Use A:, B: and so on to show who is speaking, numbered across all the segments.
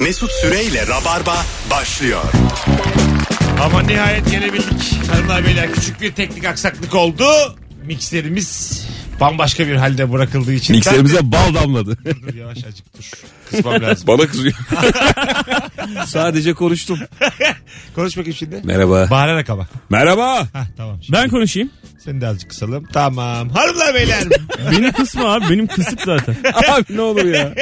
A: Mesut Süreyle Rabarba başlıyor.
B: Ama nihayet gelebildik. Hanımlar beyler küçük bir teknik aksaklık oldu. Mikserimiz bambaşka bir halde bırakıldığı için.
C: Mikserimize bal damladı.
B: Ben- Dur yavaş azıcık dur. Kısmam lazım.
C: Bana kızıyor. Sadece konuştum.
B: Konuş bakayım şimdi.
C: Merhaba.
B: Bağırarak ama.
C: Merhaba.
B: Hah tamam. Şimdi.
D: Ben konuşayım.
B: Seni de azıcık kısalım. Tamam. Hanımlar beyler.
D: Beni kısma abi. Benim kısık zaten.
C: Abi ne olur ya.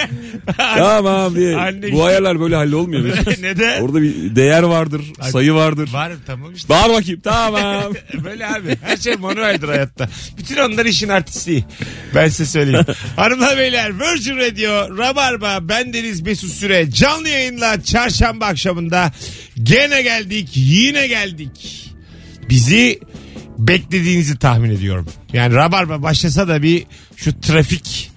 C: tamam diye.
B: Anne-
C: Bu ayarlar böyle hallolmuyor. Mesut.
B: Neden?
C: Orada bir değer vardır, sayı vardır.
B: Var tamam işte.
C: Bağır bakayım. Tamam.
B: Böyle abi. Her şey manueldir hayatta. Bütün onlar işin artistliği. Ben size söyleyeyim. Hanımlar beyler Virgin Radio Rabarba bendeniz Mesut Süre canlı yayınla çarşamba akşamında gene geldik yine geldik. Bizi beklediğinizi tahmin ediyorum. Yani Rabarba başlasa da bir şu trafik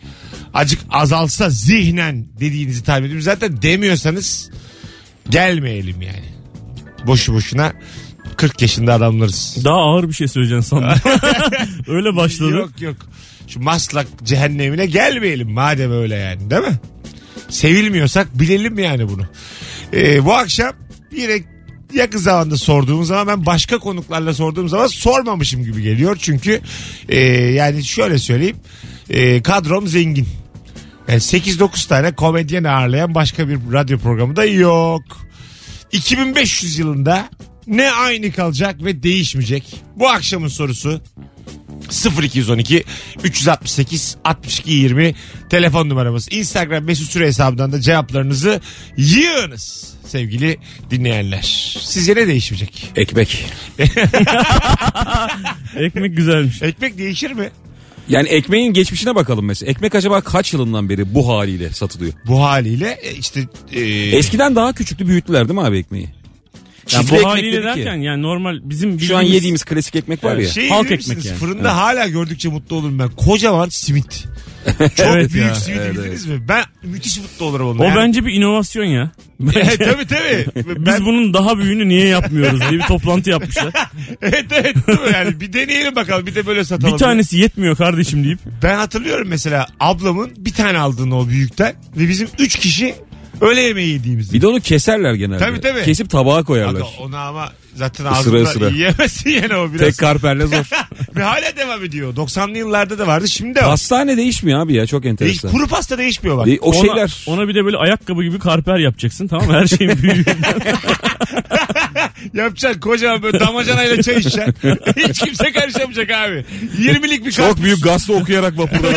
B: acık azalsa zihnen dediğinizi tahmin ediyorum. Zaten demiyorsanız gelmeyelim yani. Boşu boşuna 40 yaşında adamlarız.
D: Daha ağır bir şey söyleyeceksin sandım. Öyle başladı.
B: Yok yok. Şu maslak cehennemine gelmeyelim madem öyle yani değil mi? Sevilmiyorsak bilelim yani bunu. Ee, bu akşam yine yakın zamanda sorduğum zaman ben başka konuklarla sorduğum zaman sormamışım gibi geliyor. Çünkü e, yani şöyle söyleyeyim e, kadrom zengin. Yani 8-9 tane komedyen ağırlayan başka bir radyo programı da yok. 2500 yılında ne aynı kalacak ve değişmeyecek? Bu akşamın sorusu 0212 368 62 20 telefon numaramız. Instagram mesut süre hesabından da cevaplarınızı yığınız sevgili dinleyenler. Sizce ne değişmeyecek?
C: Ekmek.
D: Ekmek güzelmiş.
B: Ekmek değişir mi?
C: Yani ekmeğin geçmişine bakalım mesela. Ekmek acaba kaç yılından beri bu haliyle satılıyor?
B: Bu haliyle e, işte e,
C: Eskiden daha küçüklü büyüttüler değil mi abi ekmeği?
D: Ya
C: Çiftli
D: bu
C: ekmek
D: haliyle
C: dedi ki.
D: derken yani normal bizim
C: Şu an
D: bildiğimiz-
C: yediğimiz klasik ekmek var ya.
D: Evet.
B: şey
D: halk
B: bilir
D: ekmek
B: misiniz?
D: yani.
B: Fırında hala gördükçe mutlu olurum ben. Kocaman simit. Çok
D: Evet
B: büyük
D: ya,
B: simit
C: evet,
B: bildiniz mi? Ben müthiş mutlu olurum onunla.
D: O
B: Yani-
D: bence bir inovasyon ya.
B: tabii tabii.
D: Biz
B: Ben-
D: bunun daha büyüğünü niye yapmıyoruz diye bir toplantı yapmışlar.
B: evet evet. değil mi? Yani bir deneyelim bakalım. Bir de böyle satalım.
D: bir tanesi yetmiyor kardeşim deyip.
B: Ben hatırlıyorum mesela ablamın bir tane aldığını o büyükten ve bizim üç kişi öğle yemeği yediğimizi.
C: Bir de onu keserler genelde.
B: Tabii, tabii.
C: Kesip tabağa
B: Aga
C: koyarlar.
B: onu ama zaten
C: Isıra
B: ağzında
C: ısıra.
B: yiyemezsin yani o biraz.
C: Tek karperle zor.
B: Ve hala devam ediyor. 90'lı yıllarda da vardı şimdi de var.
C: Pastane değişmiyor abi ya çok
B: Değiş,
C: enteresan.
B: kuru pasta değişmiyor bak.
C: Değil- E, o
D: ona,
C: şeyler.
D: Ona bir de böyle ayakkabı gibi karper yapacaksın tamam mı? Her şeyin büyüğü.
B: Yapacaksın kocaman böyle damacanayla çay içeceksin. Hiç kimse karışamayacak abi. 20'lik bir
C: Çok
B: karpuz.
C: büyük gazete okuyarak vapurda.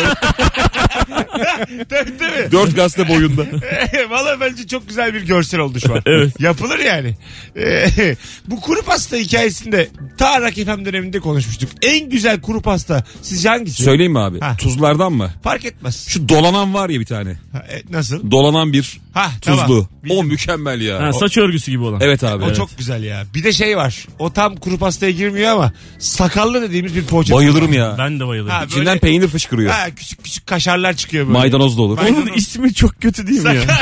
B: Tabii tabii.
C: Dört gazete boyunda.
B: Valla bence çok güzel bir görsel oldu şu an.
D: Evet.
B: Yapılır yani. Ee, bu kuru pasta hikayesinde ta Rock FM döneminde konuşmuştuk. En güzel kuru pasta sizce hangisi?
C: Söyleyeyim mi abi?
B: Ha.
C: Tuzlardan mı?
B: Fark etmez.
C: Şu dolanan var ya bir tane.
B: Ha, e, nasıl?
C: Dolanan bir
B: Ha, tamam.
C: tuzlu.
B: Bildim.
C: O mükemmel ya.
D: Ha,
C: O-
D: saç örgüsü gibi olan.
C: Evet abi.
B: O
C: evet.
B: çok güzel ya. Bir de şey var. O tam kuru pastaya girmiyor ama sakallı dediğimiz bir poğaça.
C: Bayılırım ya.
D: Ben de bayılırım.
B: Ha,
C: İçinden
B: böyle-
C: peynir fışkırıyor.
B: Ha, küçük küçük kaşarlar çıkıyor böyle.
C: Maydanoz da olur.
B: May-
D: Onun ismi çok kötü değil mi ya?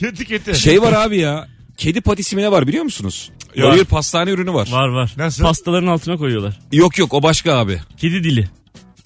B: kötü kötü.
C: Şey var abi ya. Kedi patisimine var biliyor musunuz?
D: Yok.
C: Öyle bir pastane ürünü var.
D: Var var.
B: Nasıl?
D: Pastaların altına koyuyorlar.
C: Yok yok o başka abi.
D: Kedi dili.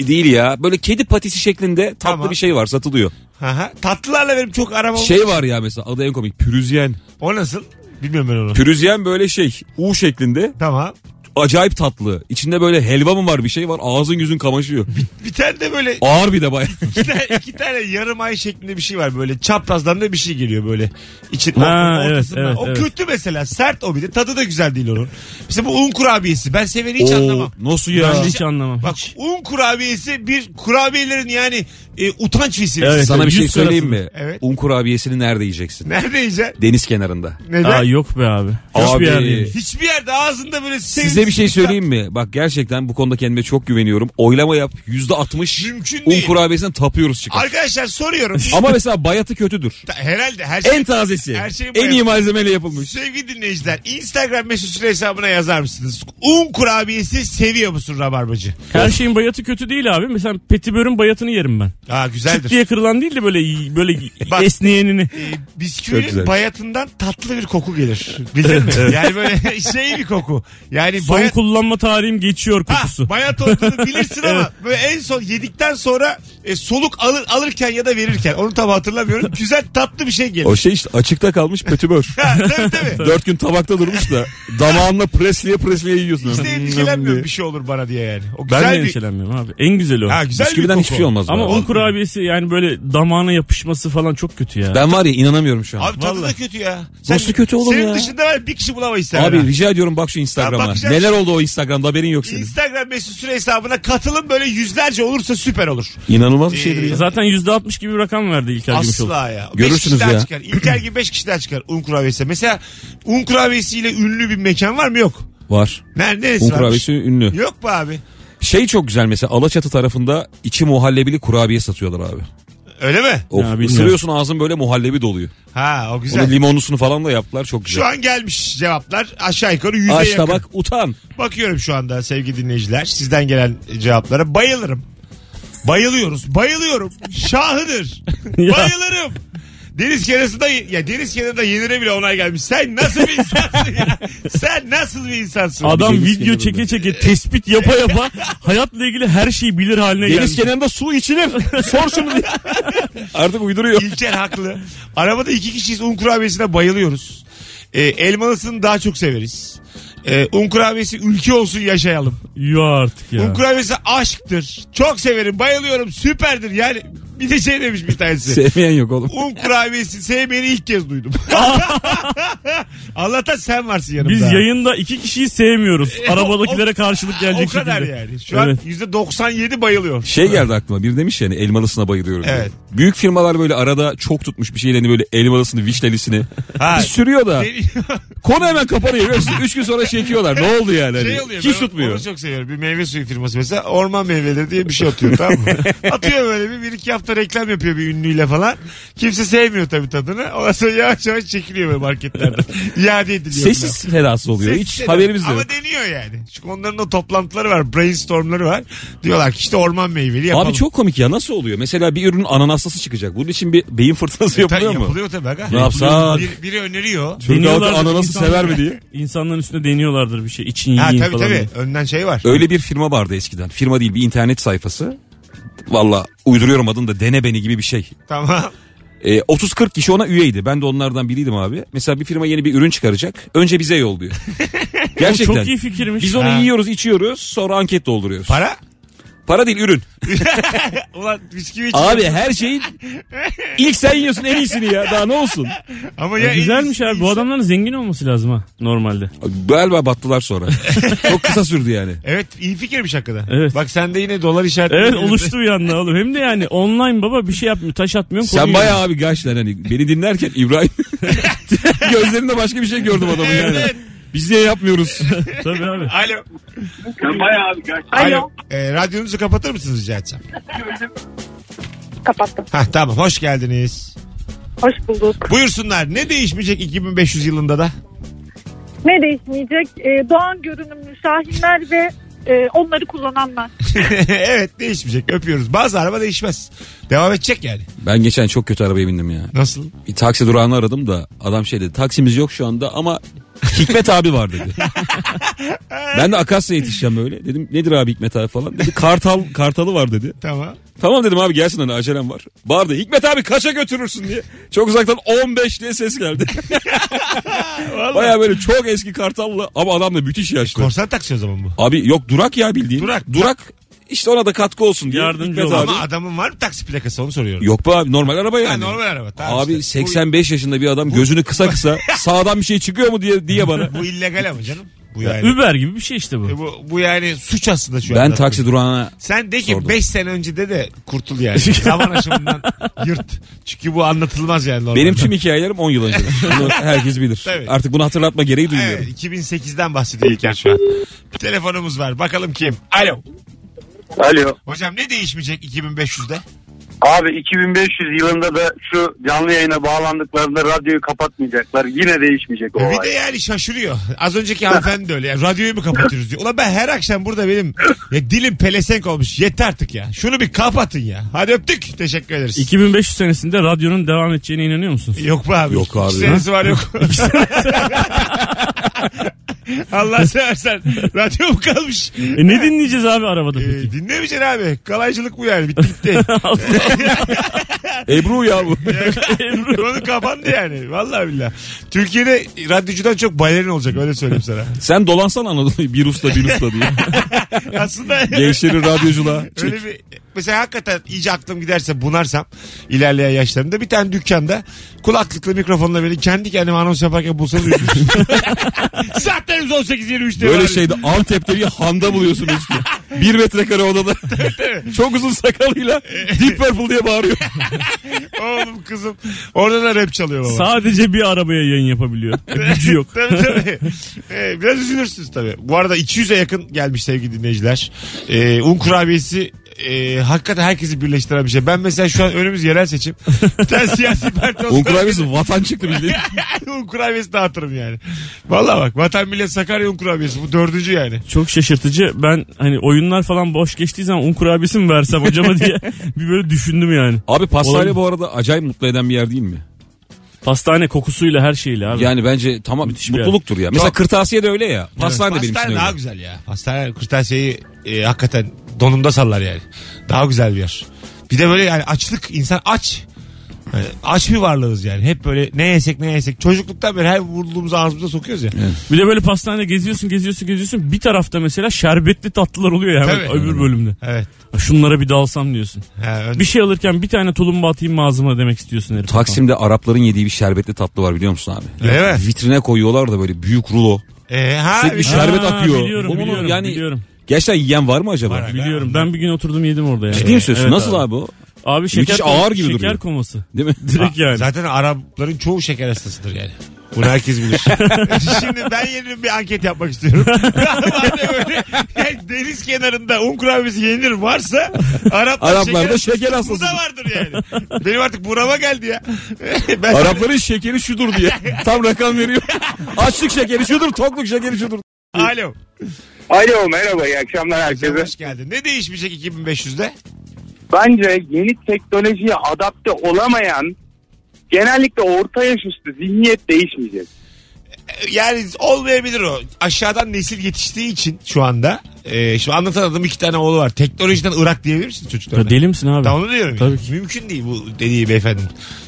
C: Değil ya. Böyle kedi patisi şeklinde tatlı
B: Tamam.
C: bir şey var satılıyor.
B: Aha. Tatlılarla benim çok aram olmuş.
C: Şey var ya mesela adı en komik. Pürüzyen.
B: O nasıl? Bilmiyorum ben onu.
C: Pürüzyen böyle şey. U şeklinde.
B: Tamam.
C: Acayip tatlı. İçinde böyle helva mı var bir şey var. Ağzın yüzün kamaşıyor.
B: Bir tane de böyle
C: Ağır bir de baya.
B: iki, tane, iki tane yarım ay şeklinde bir şey var böyle çaprazdan da bir şey geliyor böyle. İçin,
D: Ha,
B: o-
D: evet,
B: ortasından.
D: evet,
B: o
D: evet.
B: kötü mesela sert o bir de tadı da güzel değil onun. Mesela bu un kurabiyesi ben seveni hiç
C: Oo,
B: anlamam.
C: nasıl
D: Ben
C: ya?
D: de hiç anlamam.
B: Bak un kurabiyesi bir kurabiyelerin yani e, utanç vesilesi.
D: Evet.
C: Sana bir şey
D: Yüz
C: söyleyeyim
D: karası.
C: mi?
B: Evet.
C: Un kurabiyesini nerede yiyeceksin?
B: Nerede yiyeceksin?
C: Deniz kenarında.
B: Neden?
D: Aa, yok be abi. Hiçbir
C: Abi.
D: yer değil.
B: Hiçbir yerde ağzında böyle sevimsiz
C: Size bir şey söyleyeyim mi? Bak gerçekten bu konuda kendime çok güveniyorum. Oylama yap. Yüzde altmış
B: Mümkün
C: un
B: değil.
C: kurabiyesinden tapıyoruz çıkar.
B: Arkadaşlar soruyorum.
C: Ama mesela bayatı kötüdür.
B: Herhalde her şey
C: En tazesi.
B: Her şey
C: en
B: bayat.
C: iyi malzemeyle yapılmış.
B: Sevgili dinleyiciler Instagram mesut süre hesabına yazar mısınız? Un kurabiyesi seviyor musun rabarbacı?
D: Her şeyin bayatı kötü değil abi. Mesela petibörün bayatını yerim ben.
B: Aa
D: Çıt
B: güzeldir.
D: diye kırılan değil de böyle böyle
B: Bak.
D: esneyenini.
B: e,
C: Çok
B: bisküvinin
C: güzel.
B: bayatından tatlı bir koku gelir. Bildin mi? Yani böyle şey bir koku. Yani
D: Son
B: Bayat-
D: kullanma tarihim geçiyor kokusu.
B: Ha, bayat olduğunu bilirsin ama böyle en son yedikten sonra e, soluk alır, alırken ya da verirken onu tam hatırlamıyorum. Güzel tatlı bir şey gelir.
C: O şey işte açıkta kalmış petibör.
B: Ha, tabii tabii.
C: Dört gün tabakta durmuş da damağınla presliye presliye yiyorsun.
B: Hiç de endişelenmiyorum bir şey olur bana diye yani. O
D: ben
B: güzel
D: de
B: bir...
D: endişelenmiyorum abi. En güzeli o.
B: Ha, güzel bir
C: Bisküviden
B: koku.
C: hiçbir şey olmaz.
D: Ama
C: bu
D: un
C: arada.
D: kurabiyesi yani böyle damağına yapışması falan çok kötü ya.
C: Ben var ya inanamıyorum şu an.
B: Abi tadı da
D: Vallahi.
B: kötü ya.
C: Nasıl kötü oğlum
B: senin
C: ya?
B: dışında var ya bir kişi bulamayız sen.
C: Abi
B: Abi,
C: rica ediyorum bak şu Instagram'a.
B: Ya bakacağım.
C: Neler oldu o Instagram'da haberin yok senin.
B: Instagram mesut süre hesabına katılın böyle yüzlerce olursa süper olur.
C: İnanılmaz
B: Ee,
C: bir şeydir ya.
D: Zaten %60 gibi bir rakam verdi İlker Gümüşoğlu.
B: Asla ya.
C: Görürsünüz
B: beş kişiden
C: ya.
B: Çıkar. İlker gibi 5 kişiden çıkar un kurabiyesi. Mesela un kurabiyesiyle ünlü bir mekan var mı? Yok.
C: Var.
B: Nerede? Neresi
C: Un
B: varmış?
C: kurabiyesi ünlü.
B: Yok mu abi?
C: Şey çok güzel mesela Alaçatı tarafında içi muhallebili kurabiye satıyorlar abi.
B: Öyle mi?
C: Of,
D: Ya, bilmiyorum.
C: ısırıyorsun ağzın böyle muhallebi doluyor.
B: Ha o
C: Onun
B: güzel.
C: limonlusunu falan da yaptılar çok
B: Şu
C: güzel.
B: an gelmiş cevaplar. Aşağı yukarı yüze
C: Aç
B: yakın.
C: tabak utan.
B: Bakıyorum şu anda sevgili dinleyiciler. Sizden gelen cevaplara bayılırım. Bayılıyoruz. Bayılıyorum. Şahıdır.
D: Ya.
B: bayılırım. Deniz kenarında ya deniz kenarında yenire bile onay gelmiş. Sen nasıl bir insansın ya? Sen nasıl bir insansın?
D: Adam
C: Deniz
D: video
C: kenarında.
D: çeke çeke tespit yapa yapa hayatla ilgili her şeyi bilir haline
C: Deniz
D: gelmiş.
C: kenarında su içilir. Sor şunu diye. Artık uyduruyor.
B: İlker haklı. Arabada iki kişiyiz un kurabiyesine bayılıyoruz. Ee, elmalısını daha çok severiz. Ee, un kurabiyesi ülke olsun yaşayalım.
D: Yo artık ya.
B: Un kurabiyesi aşktır. Çok severim bayılıyorum süperdir yani. Bir de şey demiş bir tanesi.
C: Sevmeyen yok oğlum.
B: Un kurabiyesi sevmeni ilk kez duydum. Allah'tan sen varsın yanımda.
D: Biz yayında iki kişiyi sevmiyoruz. Arabadakilere karşılık gelecek
B: O kadar
D: şekilde.
B: yani. Şu an
D: Evet.
B: %97 bayılıyor.
C: Şey geldi aklıma bir demiş yani elmalısına bayılıyorum. diye.
B: Evet.
C: Büyük firmalar böyle arada çok tutmuş bir şeylerini böyle elmalısını vişnelisini
B: Ha. Şey-
C: bir sürüyor da konu hemen kapanıyor. Görüyorsun, Üç gün sonra çekiyorlar ne oldu yani hani,
B: şey oluyor.
C: hiç
B: ben
C: tutmuyor.
B: Onu çok seviyorum. Bir meyve suyu firması mesela orman meyveleri diye bir şey atıyor tamam mı? atıyor böyle bir, bir iki hafta reklam yapıyor bir ünlüyle falan. Kimse sevmiyor tabii tadını. Ondan sonra yavaş yavaş çekiliyor böyle marketlerden. İade ediliyor. bunlar.
C: Sessiz fedası oluyor
B: Sessiz
C: hiç
B: eden-
C: haberimiz de yok.
B: Ama deniyor yani. Çünkü onların da toplantıları var. Brainstormları var. Diyorlar ki işte orman meyveli yapalım.
C: Abi çok komik ya nasıl oluyor? Mesela bir ürünün ananaslısı çıkacak. Bunun için bir beyin fırtınası
B: Ta-
C: yapılıyor mu?
B: Yapılıyor E, tabii. Aga.
C: Ne yapsak?
B: Bir, biri öneriyor.
C: Türk halkı
D: Deniyorlardır
C: ananası
D: insanlar.
C: sever mi diye.
D: İnsanların üstüne deniyorlardır bir şey. İçin
B: Ha
D: yiyin
B: tabii
D: falan.
B: tabii.
D: diye.
B: Önden şey var.
C: Öyle bir firma vardı eskiden. Firma değil bir internet sayfası. Valla uyduruyorum adını da dene beni gibi bir şey.
B: Tamam.
C: Ee, 30-40 kişi ona üyeydi. Ben de onlardan biriydim abi. Mesela bir firma yeni bir ürün çıkaracak. Önce bize yolluyor. Gerçekten.
D: Çok iyi fikirmiş.
C: Biz onu
B: Ha.
C: yiyoruz, içiyoruz. Sonra anket dolduruyoruz. Para,
B: Para?
C: değil, ürün.
B: Ulan bisküvi için.
C: Abi her şeyin ilk sen yiyorsun en iyisini ya. Daha ne olsun?
B: Ama ya
D: Güzelmiş abi. Bu
B: adam.
D: adamların zengin olması lazım ha normalde.
C: Galiba battılar sonra. Çok kısa sürdü yani.
B: Evet iyi fikirmiş hakikaten.
D: Evet.
B: Bak sende yine dolar işareti.
D: Evet oluştu bir anda oğlum. Hem de yani online baba bir şey yapmıyor. Taş atmıyor.
C: Sen
D: konuyu
C: bayağı
D: yiyor.
C: abi gaçlar hani beni dinlerken İbrahim gözlerinde başka bir şey gördüm adamın yani.
B: Evet.
C: Biz niye yapmıyoruz?
D: Tabii abi.
B: Alo.
E: Bayağı bir
B: Alo. Ee, radyonuzu kapatır mısınız rica etsem?
F: Kapattım.
B: Hah tamam hoş geldiniz.
F: Hoş bulduk.
B: Buyursunlar ne değişmeyecek 2500 yılında da?
F: Ne değişmeyecek? Ee, doğan görünümlü şahinler ve e, onları kullananlar.
B: evet değişmeyecek öpüyoruz. Bazı araba değişmez. Devam edecek yani.
C: Ben geçen çok kötü arabaya bindim ya.
B: Nasıl?
C: Bir taksi durağını aradım da adam şey dedi taksimiz yok şu anda ama Hikmet abi var dedi. ben de Akasya yetişeceğim böyle. Dedim nedir abi Hikmet abi falan. Dedi Kartal Kartalı var dedi.
B: Tamam.
C: Tamam dedim abi gelsin hani acelem var. Bağırdı Hikmet abi kaça götürürsün diye. Çok uzaktan 15 diye ses geldi. Baya böyle çok eski Kartallı ama adam da müthiş yaşlı.
B: Korsan taksi o zaman bu.
C: Abi yok durak ya bildiğin.
B: Durak.
C: Durak işte ona da katkı olsun diye.
D: Yardımcı
C: Hikmet
D: olun.
C: abi.
B: Ama adamın var mı taksi plakası onu soruyorum.
C: Yok be abi normal araba yani.
B: Ha, normal araba. Tamam
C: Abi
B: işte.
C: 85 yaşında bir adam gözünü kısa kısa sağdan bir şey çıkıyor mu diye diye bana.
B: Bu, bu illegal ama canım. Bu yani.
D: Uber gibi bir şey işte bu.
B: E, bu, bu yani suç aslında şu
C: Ben
B: anda.
C: taksi durağına
B: Sen de ki
C: Sordum.
B: 5 sene önce de de kurtul yani. Zaman aşımından yırt. Çünkü bu anlatılmaz yani. normalde.
C: benim tüm hikayelerim 10 yıl önce. Bunu herkes bilir.
B: Tabii.
C: Artık bunu hatırlatma gereği duymuyorum.
B: Evet, 2008'den bahsediyor İlker şu an. Bir telefonumuz var. Bakalım kim? Alo.
E: Alo.
B: Hocam ne değişmeyecek 2500'de?
E: Abi 2500 yılında da şu canlı yayına bağlandıklarında radyoyu kapatmayacaklar. Yine değişmeyecek o
B: E, Bir de
E: olay.
B: yani şaşırıyor. Az önceki hanımefendi de öyle. Yani radyoyu mu kapatıyoruz diyor. Ulan ben her akşam burada benim ya dilim pelesenk olmuş. Yeter artık ya. Şunu bir kapatın ya. Hadi öptük. Teşekkür ederiz.
D: 2500 senesinde radyonun devam edeceğine inanıyor musun?
B: Yok be abi.
C: Yok abi.
B: İki senesi var yok. Allah seversen. Radyo mu kalmış?
D: E ne dinleyeceğiz abi arabada
B: Ee,
D: peki?
B: dinlemeyeceksin abi. Kalaycılık bu yani. Bitti gitti.
C: Ebru ya bu.
B: Onu kapandı yani. Vallahi billah. Türkiye'de radyocudan çok balerin olacak öyle söyleyeyim sana.
C: Sen dolansan Anadolu'yu bir usta bir usta diye.
B: Aslında
C: Gençleri radyoculuğa. çek.
B: öyle bir şey mesela hakikaten iyice aklım giderse bunarsam ilerleyen yaşlarımda bir tane dükkanda kulaklıklı mikrofonla beni kendi kendime anons yaparken bulsanız üzülürsün. Saatlerimiz 18.23 diye.
C: Böyle şey
B: bağırıyor.
C: şeyde Antep'te bir handa buluyorsun üstü. Bir metrekare odada. Çok uzun sakalıyla Deep Purple diye bağırıyor.
B: Oğlum kızım. Orada da rap çalıyor baba.
D: Sadece bir arabaya yayın yapabiliyor. E, Gücü yok.
B: tabii tabii. Ee, biraz üzülürsünüz tabii. Bu arada 200'e yakın gelmiş sevgili dinleyiciler. Ee, un kurabiyesi e, hakikaten herkesi birleştiren bir şey. Ben mesela şu an önümüz yerel seçim. Bir tane siyasi parti olsa-
C: Un kurabiyesi vatan çıktı bildiğin.
B: un kurabiyesi dağıtırım yani. Valla bak vatan millet Sakarya un kurabiyesi. Bu dördüncü yani.
D: Çok şaşırtıcı. Ben hani oyunlar falan boş geçtiği zaman un kurabiyesi mi versem acaba diye bir böyle düşündüm yani.
C: Abi pastane
D: Olabilir.
C: bu arada acayip mutlu eden bir yer değil mi?
D: Pastane kokusuyla her şeyle abi.
C: Yani bence tamam
D: bir yer.
C: mutluluktur ya. Mesela kırtasiye de öyle ya. Pastane de benim için
B: Hastane daha
C: öyle.
B: güzel ya. Hastane kırtasiyeyi e, hakikaten donumda sallar yani. Daha güzel bir yer. Bir de böyle yani açlık insan aç. Yani aç bir varlığız yani. Hep böyle ne yesek ne yesek. Çocukluktan beri her vurduğumuzu ağzımıza sokuyoruz ya.
D: Bir de böyle pastane geziyorsun geziyorsun geziyorsun. Bir tarafta mesela şerbetli tatlılar oluyor ya hemen
B: Tabii.
D: öbür bölümde.
B: Evet.
D: Şunlara bir dalsam diyorsun.
B: Ha, ön-
D: Bir şey alırken bir tane tulumba atayım mı ağzıma demek istiyorsun herif.
C: Taksim'de Arapların yediği bir şerbetli tatlı var biliyor musun abi?
B: Evet.
C: Vitrine koyuyorlar da böyle büyük rulo.
B: Ee, ha,
C: Sürekli
D: şey
B: bir-
C: şer- şerbet
D: Ha,
C: akıyor.
D: Biliyorum
C: Bunu
D: biliyorum,
C: yani-
D: biliyorum.
C: Gerçekten yiyen var mı acaba?
B: Var.
D: Biliyorum. Ben bir gün oturdum yedim orada yani.
C: Ciddi mi söylüyorsun?
D: Evet
C: Nasıl abi. o?
D: Abi şeker,
C: Müthiş ağır gibi
D: şeker
C: duruyor.
D: koması.
C: Değil mi?
D: Direkt yani.
B: Zaten Arapların çoğu şeker hastasıdır yani. Bunu herkes bilir. Şimdi ben yeni bir anket yapmak istiyorum. Madem öyle, yani deniz kenarında un kurabiyesi yenir varsa Araplar,
C: Araplar da
B: şeker
C: şeker
B: Bu
C: hastası.
B: da vardır yani. Benim artık burama geldi ya. ben
C: Arapların şekeri şudur diye. Tam rakam veriyor. Açlık şekeri şudur, tokluk şekeri şudur.
B: Alo.
E: Alo merhaba iyi akşamlar herkese.
B: Hoş geldin. Ne değişmeyecek 2500'de?
E: Bence yeni teknolojiye adapte olamayan genellikle orta yaş üstü zihniyet değişmeyecek.
B: Yani olmayabilir o. Aşağıdan nesil yetiştiği için şu anda. E, şimdi anlatan adam iki tane oğlu var. Teknolojiden Irak diyebilir misin
D: Ya
B: çocuklarına?
D: deli misin abi?
B: Tamam onu diyorum.
D: Tabii
B: yani. Mümkün değil bu dediği beyefendi.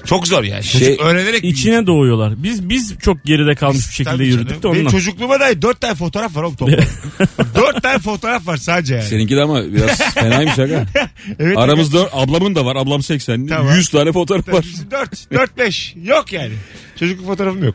B: Çok zor yani. Çocuk
C: Şey,
B: öğrenerek büyüyor.
D: İçine doğuyorlar. Biz biz çok geride kalmış bir şekilde
B: Tabii
D: yürüdük
B: canım.
D: de
B: Benim
D: onunla.
B: çocukluğuma dair dört tane fotoğraf var oğlum toplam. dört tane fotoğraf var sadece yani.
C: Seninki de ama biraz fenaymış aga.
B: Evet,
C: Aramızda ablamın da var. Ablam 80.
B: Tamam.
C: 100 tane fotoğraf var.
B: 4 4 5 yok yani. Çocukluk fotoğrafım yok.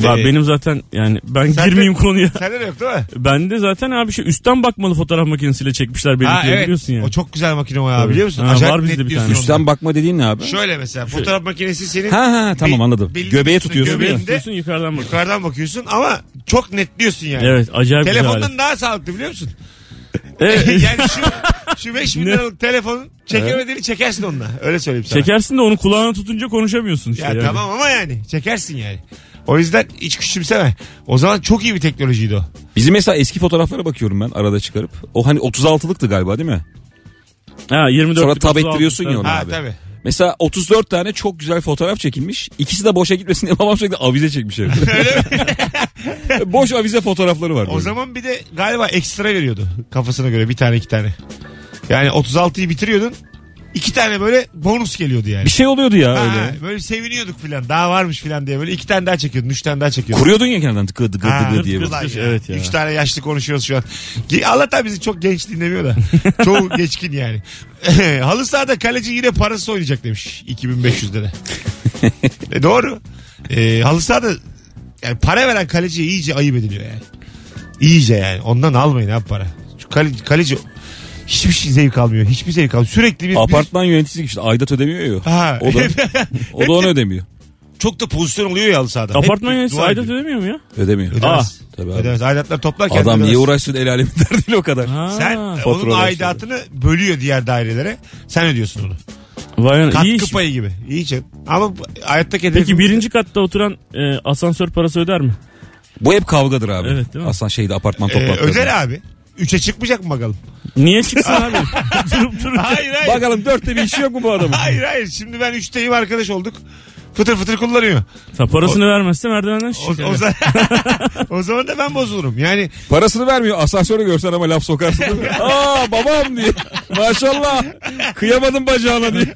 D: Var
B: Ee,
D: benim zaten yani ben
B: Sen
D: girmeyeyim konuya.
B: Sende de yok değil mi?
D: Bende zaten abi şey üstten bakmalı fotoğraf makinesiyle çekmişler benimkini biliyorsun yani.
B: O çok güzel makine o ya
D: Tabii.
B: biliyor musun?
D: Ha,
B: Acayip
D: var bizde
B: net
D: bir
B: diyorsun
D: tane. Şey-
B: onu.
C: Üstten bakma dediğin ne abi?
B: Şöyle mesela fotoğraf makinesi senin
C: Ha ha tamam
B: Be-
C: anladım.
B: belin
C: Göbeğe
B: üstüne
C: tutuyorsun.
B: göbeğin-
C: ya.
B: benim de-
D: Tutuyorsun, yukarıdan bak.
B: yukarıdan bakıyorsun ama çok netliyorsun yani.
D: Evet acayip güzel alet.
B: Telefondan Ee, daha sağlıklı biliyor musun?
D: Evet.
B: yani şu, şu 5 bin
D: Ne?
B: liralık telefonun çekemediğini çekersin onunla. Öyle söyleyeyim sana.
D: Çekersin de onu kulağına tutunca konuşamıyorsun işte.
B: ya
D: yani.
B: tamam ama yani çekersin yani. O yüzden hiç küçümseme. O zaman çok iyi bir teknolojiydi o.
C: Bizim mesela eski fotoğraflara bakıyorum ben arada çıkarıp. O hani 36'lıktı galiba değil mi?
D: Ha 24
C: Sonra tab ettiriyorsun ya onu
B: Ha
C: abi.
B: tabii.
C: Mesela 34 tane çok güzel fotoğraf çekilmiş. İkisi de boşa gitmesin diye babam sürekli avize çekmiş evde. Boş avize fotoğrafları var.
B: O
C: böyle.
B: zaman bir de galiba ekstra veriyordu kafasına göre bir tane iki tane. Yani 36'yı bitiriyordun. iki tane böyle bonus geliyordu yani.
C: Bir şey oluyordu ya
B: Ha,
C: öyle.
B: böyle seviniyorduk filan. Daha varmış filan diye böyle iki tane daha çekiyordun. Üç tane daha çekiyordun.
C: Kuruyordun ya kenardan tıkı tıkı
B: Ha,
C: tıkı diye. böyle.
B: ulan ya.
D: Evet ya.
B: Üç tane yaşlı konuşuyoruz şu an. Ge- Allah'tan bizi çok genç dinlemiyor da. Çoğu geçkin yani. Halı sahada kaleci yine parasız oynayacak demiş. 2500 lira. e, doğru. E, halı sahada yani para veren kaleciye iyice ayıp ediliyor yani. İyice yani. Ondan almayın abi para. Şu kaleci, kaleci hiçbir şey zevk almıyor. Hiçbir zevk almıyor. Sürekli bir...
C: Apartman yöneticisi işte aidat ödemiyor ya.
B: Ha.
C: O da, o da onu ödemiyor.
B: çok da pozisyon oluyor ya halı sahada.
D: Apartman yöneticisi
B: dua
D: aidat
B: ediyor.
D: ödemiyor mu ya?
C: Ödemiyor. Ah,
B: Ödemez.
C: Tabii abi.
B: Ödemez. Aidatlar toplar kendi
C: Adam niye
B: ödemez.
C: uğraşsın el alemin derdiyle o kadar.
D: Ha.
B: Sen onun
C: Faturalar şey.
B: aidatını bölüyor diğer dairelere. Sen ödüyorsun onu.
D: Vay anam,
B: Katkı
D: E, iyi iş.
B: payı gibi. İyi canım. Ama bu- hayattaki hedefim...
D: Peki birinci katta oturan e, asansör parası öder mi?
C: Bu hep kavgadır abi.
D: Evet, değil mi?
C: Aslan şeyde apartman
B: Ee,
C: toplantıları.
B: öder abi. Üçe çıkmayacak mı bakalım?
D: Niye çıksın abi? Durup dururken.
B: Hayır hayır.
C: Bakalım dörtte bir işi yok mu bu adamın?
B: Hayır hayır. Şimdi ben üçteyim arkadaş olduk. Fıtır fıtır kullanıyor.
D: Sen parasını vermezse merdivenden
B: O,
D: şişer.
B: o zaman, o zaman da ben bozulurum. Yani
C: Parasını vermiyor. Asansöre görsen ama laf sokarsın. değil mi? Aa babam diye. Maşallah. Kıyamadım bacağına diye.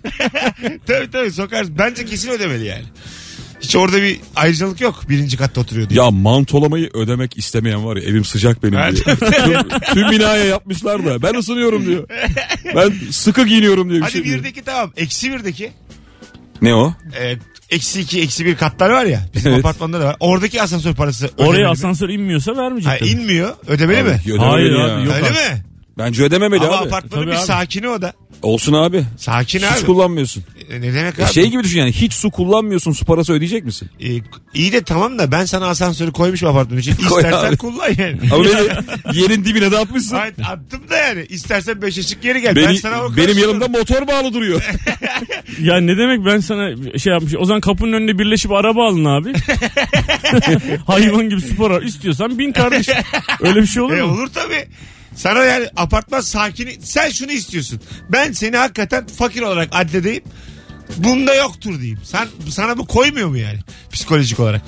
B: tabii tabii sokarsın. Bence kesin ödemeli yani. Hiç orada bir ayrıcalık yok. Birinci katta oturuyor diye.
C: Ya mantolamayı ödemek istemeyen var ya evim sıcak benim
B: Evet.
C: diye. tüm, tüm binaya yapmışlar da ben ısınıyorum diyor. Ben sıkı giyiniyorum diye bir
B: Hadi
C: şey diyor.
B: birdeki tamam. Eksi birdeki.
C: Ne o?
B: e, eksi iki, eksi bir katlar var ya. Bizim
C: Evet.
B: apartmanda da var. Oradaki asansör parası ödemeli
D: Oraya
B: mi?
D: asansör inmiyorsa vermeyecek
B: Ha,
D: tabii.
B: inmiyor. Ödemeli
C: Abi,
B: mi?
C: ödemeli
D: Hayır
C: ya.
D: abi, yok.
B: Öyle
D: abi.
B: mi?
C: Bence ödememeli
B: Ama
C: abi.
B: apartmanın
D: Tabii
B: bir
D: abi.
B: sakini o da.
C: Olsun abi.
B: Sakin
C: Hiç
B: abi.
C: kullanmıyorsun.
B: E, ne demek
C: E
B: abi? E,
C: şey gibi düşün yani hiç su kullanmıyorsun su parası ödeyecek misin?
B: iyi de tamam da ben sana asansörü koymuşum apartmanın için.
C: Koy
B: İstersen
C: abi.
B: kullan yani.
C: Ama beni yerin dibine de atmışsın.
B: Hayır, attım da yani. İstersen beş ışık geri gel. ben
C: Beni,
B: sana o
C: benim
B: karşılığı-
C: yanımda motor bağlı duruyor.
D: Ya ne demek ben sana şey yapmış. O zaman kapının önünde birleşip araba alın abi. Hayvan gibi spor al. İstiyorsan bin kardeş. Öyle bir şey olur
B: E,
D: mu?
B: olur tabii. Sana yani apartman sakini sen şunu istiyorsun. Ben seni hakikaten fakir olarak addedeyim. Bunda yoktur diyeyim. Sen sana bu koymuyor mu yani psikolojik olarak?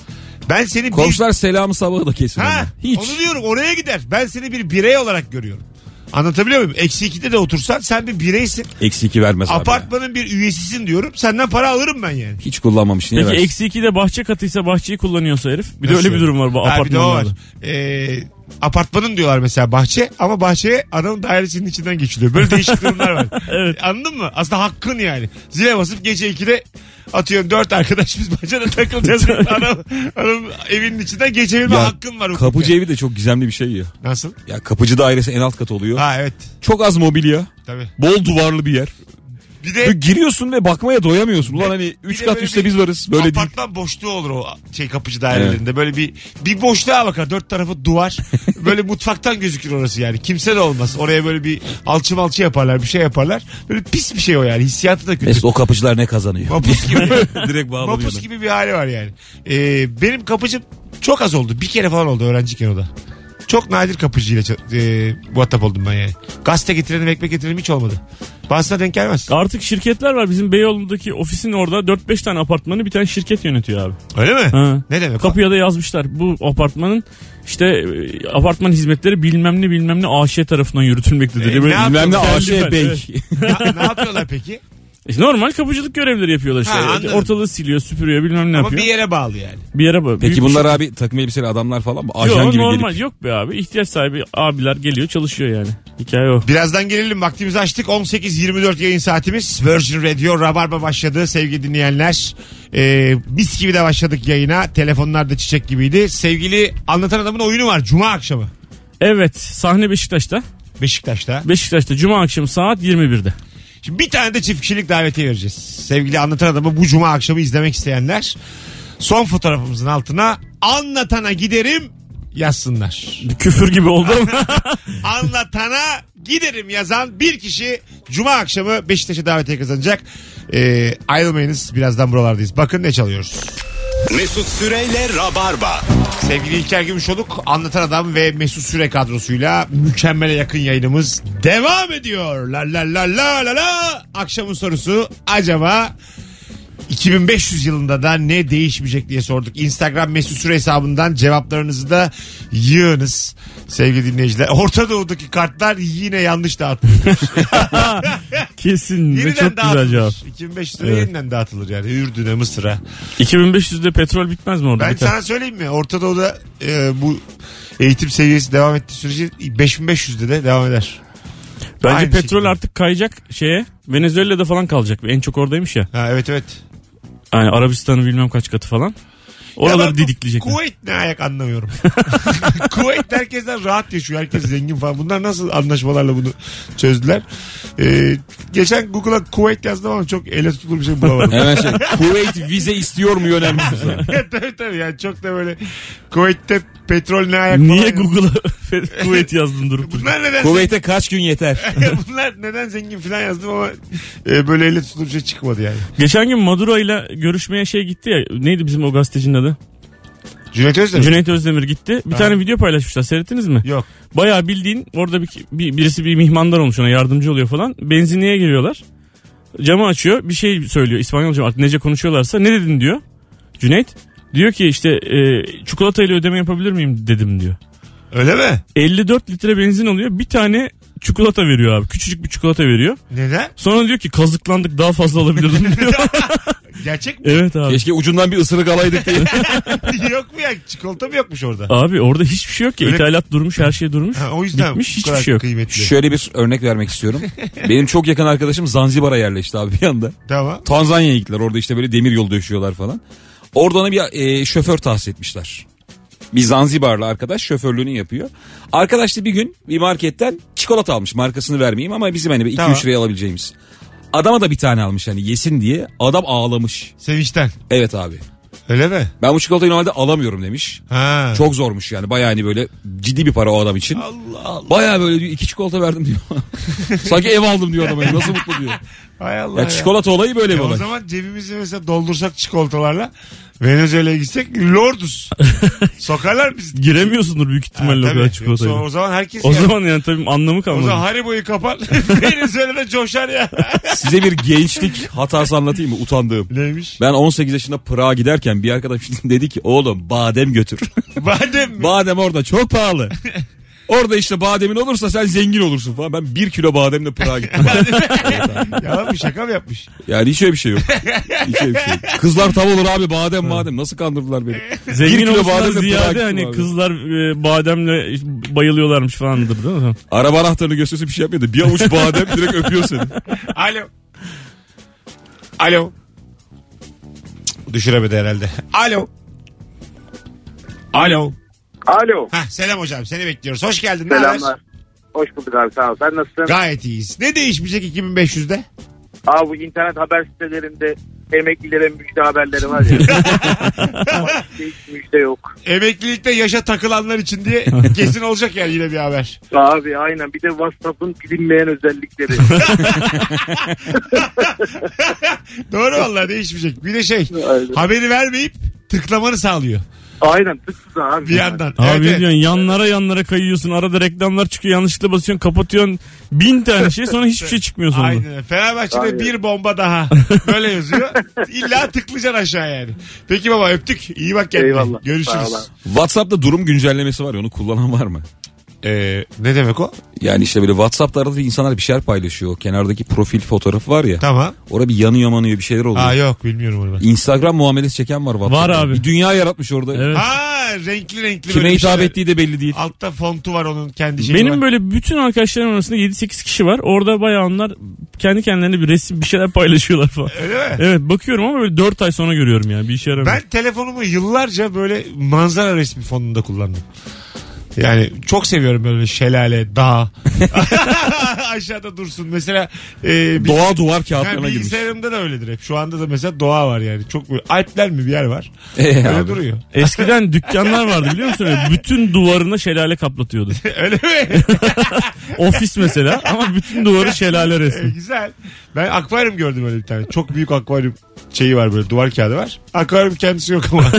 B: Ben seni bir
C: Komşular selamı sabaha da kesin.
B: Ha,
C: ama. Hiç.
B: Onu diyorum oraya gider. Ben seni bir birey olarak görüyorum. Anlatabiliyor muyum? Eksi ikide de otursan sen bir bireysin.
C: Eksi iki vermez abi. ya.
B: Apartmanın bir üyesisin diyorum. Senden para alırım ben yani.
C: Hiç kullanmamış. Niye
D: Peki
C: versin?
D: eksi iki de bahçe katıysa bahçeyi kullanıyorsa herif. Bir de
B: Nasıl
D: öyle bir durum var bu
B: Ha, bir de o var.
D: apartmanlarda.
B: Ee, apartmanın diyorlar mesela bahçe ama bahçeye adamın dairesinin içinden geçiliyor. Böyle değişik durumlar var.
D: Evet.
B: Anladın mı? Aslında hakkın yani. Zile basıp gece 2'de atıyorum dört arkadaş biz bahçede takılacağız. adam, adam evinin içinden geçebilme
C: Ya,
B: hakkın var. hukuken.
C: Kapıcı evi de çok gizemli bir şey ya.
B: Nasıl?
C: Ya kapıcı dairesi en alt kat oluyor.
B: Ha evet.
C: Çok az mobilya.
B: Tabii.
C: Bol duvarlı bir yer.
B: Bir
C: Böyle
B: de
C: giriyorsun ve bakmaya doyamıyorsun. Ulan hani
B: de
C: 3 kat
B: böyle
C: üstte
B: bir
C: biz varız. Böyle değil.
B: apartman boşluğu olur o şey kapıcı dairelerinde. Böyle bir bir boşluğa bakar. Dört tarafı duvar. böyle mutfaktan gözükür orası yani. Kimse de olmaz. Oraya böyle bir alçı malçı yaparlar. Bir şey yaparlar. Böyle pis bir şey o yani. Hissiyatı da kötü.
C: Mesut o kapıcılar ne kazanıyor?
B: Mapus gibi.
C: Direkt
B: Mapus
C: bağlanıyorlar.
B: gibi bir hali var yani. Ee, benim kapıcım çok az oldu. Bir kere falan oldu öğrenciyken o da. Çok nadir kapıcıyla ça- e, muhatap oldum ben yani. Gazete getirenim, ekmek getirenim hiç olmadı. Bazısına denk gelmez.
D: Artık şirketler var. Bizim Beyoğlu'ndaki ofisin orada 4-5 tane apartmanı bir tane şirket yönetiyor abi.
B: Öyle mi?
D: Ha.
B: Ne demek? o?
D: Kapıya da yazmışlar. Bu apartmanın işte e, apartman hizmetleri bilmem ne bilmem ne AŞ tarafından yürütülmektedir.
B: E,
D: diye böyle
B: ne
C: Bilmem ne
D: yapıyorsun?
C: AŞ
D: Belli
C: Bey.
D: belli.
B: Ne- ne yapıyorlar peki?
D: İşte şey. E, normal kapıcılık görevleri yapıyorlar işte. E,
B: Ha, anladım.
D: Ortalığı siliyor, süpürüyor, bilmem
B: Ama
D: ne yapıyor.
B: bir yere bağlı yani.
D: Bir yere bak- büyük
C: Peki
D: bir
C: bunlar
D: şey-
C: abi takım elbiseli adamlar falan mı? Ajan
D: Yok
C: gibi
D: normal
C: gelip.
D: yok be abi. İhtiyaç sahibi abiler geliyor çalışıyor yani. Hikaye o.
B: Birazdan gelelim vaktimizi açtık 18.24 yayın saatimiz Virgin Radio Rabarba başladı sevgili dinleyenler ee, mis gibi de başladık yayına telefonlar da çiçek gibiydi sevgili anlatan adamın oyunu var cuma akşamı
D: Evet sahne Beşiktaş'ta.
B: Beşiktaş'ta
D: Beşiktaş'ta cuma akşamı saat 21'de.
B: Şimdi bir tane de çift kişilik davetiye vereceğiz. Sevgili anlatan adamı bu cuma akşamı izlemek isteyenler son fotoğrafımızın altına anlatana giderim yazsınlar.
D: Bir küfür gibi oldu ama.
B: Anlatana giderim yazan bir kişi cuma akşamı Beşiktaş'a davetiye kazanacak. Ee, ayrılmayınız birazdan buralardayız. Bakın ne çalıyoruz.
A: Mesut Süreyle Rabarba.
B: Sevgili İlker Gümüşoluk, Anlatan Adam ve Mesut Süre kadrosuyla mükemmele yakın yayınımız devam ediyor. La la la la la la. Akşamın sorusu acaba 2500 yılında da ne değişmeyecek diye sorduk. Instagram Mesut Süre hesabından cevaplarınızı da yığınız sevgili dinleyiciler. Orta Doğu'daki kartlar yine yanlış dağıtılıyor.
D: Kesin ve
B: yeniden
D: çok güzel cevap.
B: dağıtılır. 2500 lira
D: Evet.
B: yeniden dağıtılır yani Ürdün'e Mısır'a.
D: 2500'de petrol bitmez mi orada?
B: Ben
D: Biter.
B: sana söyleyeyim mi? Orta Doğu'da e, bu eğitim seviyesi devam ettiği sürece 5500'de de devam eder.
D: Bence
B: Aynı
D: petrol
B: şekilde.
D: artık kayacak şeye. Venezuela'da falan kalacak. En çok oradaymış ya.
B: Ha evet evet.
D: Yani Arabistan'ın bilmem kaç katı falan.
B: Ya
D: Oraları
B: ben bu
D: didikleyecekler.
B: Kuveyt ne ayak anlamıyorum. Kuveyt herkesten rahat yaşıyor. Herkes zengin falan. Bunlar nasıl anlaşmalarla bunu çözdüler? E, geçen Google'a Kuveyt yazdım ama çok ele tutulur bir şey bulamadım.
C: Hemen şey Kuveyt vize istiyor mu önemli.
B: tabii tabii yani çok da böyle Kuveyt'te petrol ne ayak
D: Niye
B: falan-
D: Google'a kuvvet yazdın durup dururken?
B: Bunlar neden
C: Kuveyt'e kaç gün yeter?
B: bunlar neden zengin falan yazdım ama e, böyle elle tutulur bir şey çıkmadı yani.
D: Geçen gün Maduro ile görüşmeye şey gitti ya. Neydi bizim o gazetecinin adı?
B: Cüneyt Özdemir.
D: Cüneyt Özdemir gitti. Bir
B: Ha.
D: tane video paylaşmışlar. Seyrettiniz mi?
B: Yok.
D: Bayağı bildiğin orada bir, bir- birisi bir mihmandar olmuş ona yardımcı oluyor falan. Benzinliğe giriyorlar. Camı açıyor. Bir şey söylüyor. İspanyolca artık nece konuşuyorlarsa. Ne dedin diyor. Cüneyt. Diyor ki işte e, çikolatayla ödeme yapabilir miyim dedim diyor.
B: Öyle mi?
D: 54 litre benzin alıyor. Bir tane çikolata veriyor abi. Küçücük bir çikolata veriyor.
B: Neden?
D: Sonra diyor ki kazıklandık daha fazla alabilirdim diyor.
B: Gerçek mi?
D: evet abi.
C: Keşke ucundan bir ısırık alaydık diye.
B: yok mu ya? Çikolata mı yokmuş orada?
D: Abi orada hiçbir şey yok ki.
B: Öyle-
D: İthalat durmuş, her şey durmuş.
B: Ha, o yüzden
D: Bitmiş,
B: bu
D: hiçbir
B: kadar
D: şey yok.
B: kıymetli.
C: Şöyle bir örnek vermek istiyorum. Benim çok yakın arkadaşım Zanzibar'a yerleşti abi bir anda.
B: Tamam.
C: Tanzanya'ya gittiler. Orada işte böyle demir yol döşüyorlar falan. Orada ona bir e, şoför tahsis etmişler. Bir Zanzibarlı arkadaş şoförlüğünü yapıyor. Arkadaş da bir gün bir marketten çikolata almış. Markasını vermeyeyim ama bizim hani 2-3
B: Tamam.
C: liraya alabileceğimiz. Adama da bir tane almış hani yesin diye. Adam ağlamış.
B: Sevinçten.
C: Evet abi.
B: Öyle mi?
C: Ben bu çikolatayı normalde alamıyorum demiş.
B: Ha.
C: Çok zormuş yani. Bayağı hani böyle ciddi bir para o adam için.
B: Allah Allah.
C: Bayağı böyle diyor iki çikolata verdim diyor. Sanki ev aldım diyor adama. Nasıl mutlu diyor.
B: Hay Allah
C: Ya
B: ya.
C: çikolata olayı böyle bir
B: Ya O
C: olay.
B: zaman cebimizi mesela doldursak çikolatalarla Venezuela'ya gitsek lorduz. Sokarlar bizi.
D: Giremiyorsundur büyük
B: Ha,
D: ihtimalle o
B: tabii.
D: kadar çikolatayla.
B: Yoksa O zaman herkes
D: O
B: yer.
D: zaman yani tabii anlamı
B: O
D: kalmadı.
B: zaman Haribo'yu kapat. Venezuela'da coşar ya.
C: Size bir gençlik hatası anlatayım mı? Utandığım.
B: Neymiş?
C: Ben 18 yaşında Pırağa giderken bir arkadaşım dedi ki oğlum badem götür.
B: Badem mi?
C: badem orada çok pahalı. Orada işte bademin olursa sen zengin olursun falan. Ben bir kilo bademle Pırağa gittim.
B: Yalan mı şaka mı yapmış?
C: Yani hiç öyle bir şey yok. Hiç öyle bir şey yok. Kızlar tam olur abi badem badem. Nasıl kandırdılar beni? Bir
D: Zengin
C: kilo bademle
D: olmasından
C: Pırağa
D: ziyade
C: gittim
D: hani
C: abi.
D: kızlar e, bademle bayılıyorlarmış falandır değil mi?
C: Araba anahtarını gösterse bir şey yapmıyor da bir avuç badem direkt öpüyor seni.
B: Alo. Alo. Cık, Düşüremedi herhalde. Alo. Alo.
E: Alo.
B: Hah, selam hocam seni bekliyoruz. Hoş geldin. ne haber?
E: Selamlar. Hoş bulduk abi sağ ol. Sen nasılsın?
B: Gayet iyiyiz. Ne değişmeyecek 2500'de?
E: Abi bu internet haber sitelerinde emeklilere müjde haberleri var ya. Ama hiç müjde yok.
B: Emeklilikte yaşa takılanlar için diye kesin olacak yani yine bir haber.
E: Abi aynen bir de WhatsApp'ın bilinmeyen özellikleri.
B: Doğru vallahi değişmeyecek. Bir de şey
E: Aynen.
B: haberi vermeyip tıklamanı sağlıyor
E: aynen tıksız abi.
B: bir yandan.
D: Abi
B: Evet,
D: ne
B: evet.
D: diyorsun yanlara yanlara kayıyorsun arada reklamlar çıkıyor yanlışlıkla basıyorsun kapatıyorsun bin tane şey sonra hiçbir şey çıkmıyor sonunda.
B: Aynen. Fenerbahçe'de
E: Aynen.
B: bir bomba daha. Böyle yazıyor. İlla tıklayacaksın aşağı yani. Peki baba öptük. İyi bak kendine.
E: Eyvallah. Sağ ol
B: Görüşürüz.
E: abi.
C: Whatsapp'ta durum güncellemesi var ya onu kullanan var mı?
B: Ee, ne demek o?
C: Yani işte böyle Whatsapp'ta arada insanlar bir şeyler paylaşıyor. O kenardaki profil fotoğrafı var ya.
B: Tamam.
C: Orada bir yanıyor manıyor bir şeyler oluyor.
B: Aa yok bilmiyorum onu ben.
C: Instagram muamelesi çeken var Whatsapp'ta.
D: Var abi.
C: Bir dünya yaratmış orada.
D: Evet.
B: Aa renkli renkli.
C: Kime
B: böyle bir
C: hitap
B: şeyler.
C: ettiği de belli değil.
B: Altta fontu var onun kendi şeyi var.
D: Benim böyle bütün arkadaşlarım arasında 7-8 kişi var. Orada bayağı onlar kendi kendilerine bir resim bir şeyler paylaşıyorlar falan.
B: Öyle mi?
D: Evet bakıyorum ama böyle 4 ay sonra görüyorum ya bir işe yaramıyor.
B: Ben telefonumu yıllarca böyle manzara resmi fonunda kullandım. Yani çok seviyorum böyle şelale, dağ. Aşağıda dursun. Mesela e, bir-
C: Doğa duvar
B: yani
C: kağıtlarına girmiş.
B: bilgisayarımda da öyledir hep. Şu anda da mesela doğa var yani. Çok böyle- Alpler mi bir yer var.
C: Ee,
B: Öyle
C: abi.
B: duruyor.
D: Eskiden dükkanlar vardı biliyor musun? Böyle Bütün duvarına şelale kaplatıyordu.
B: Öyle mi?
D: Ofis mesela ama bütün duvarı şelale
B: E,
D: resmi.
B: güzel. Ben akvaryum gördüm öyle bir tane. Çok büyük akvaryum şeyi var böyle duvar kağıdı var. Akvaryum kendisi yok ama.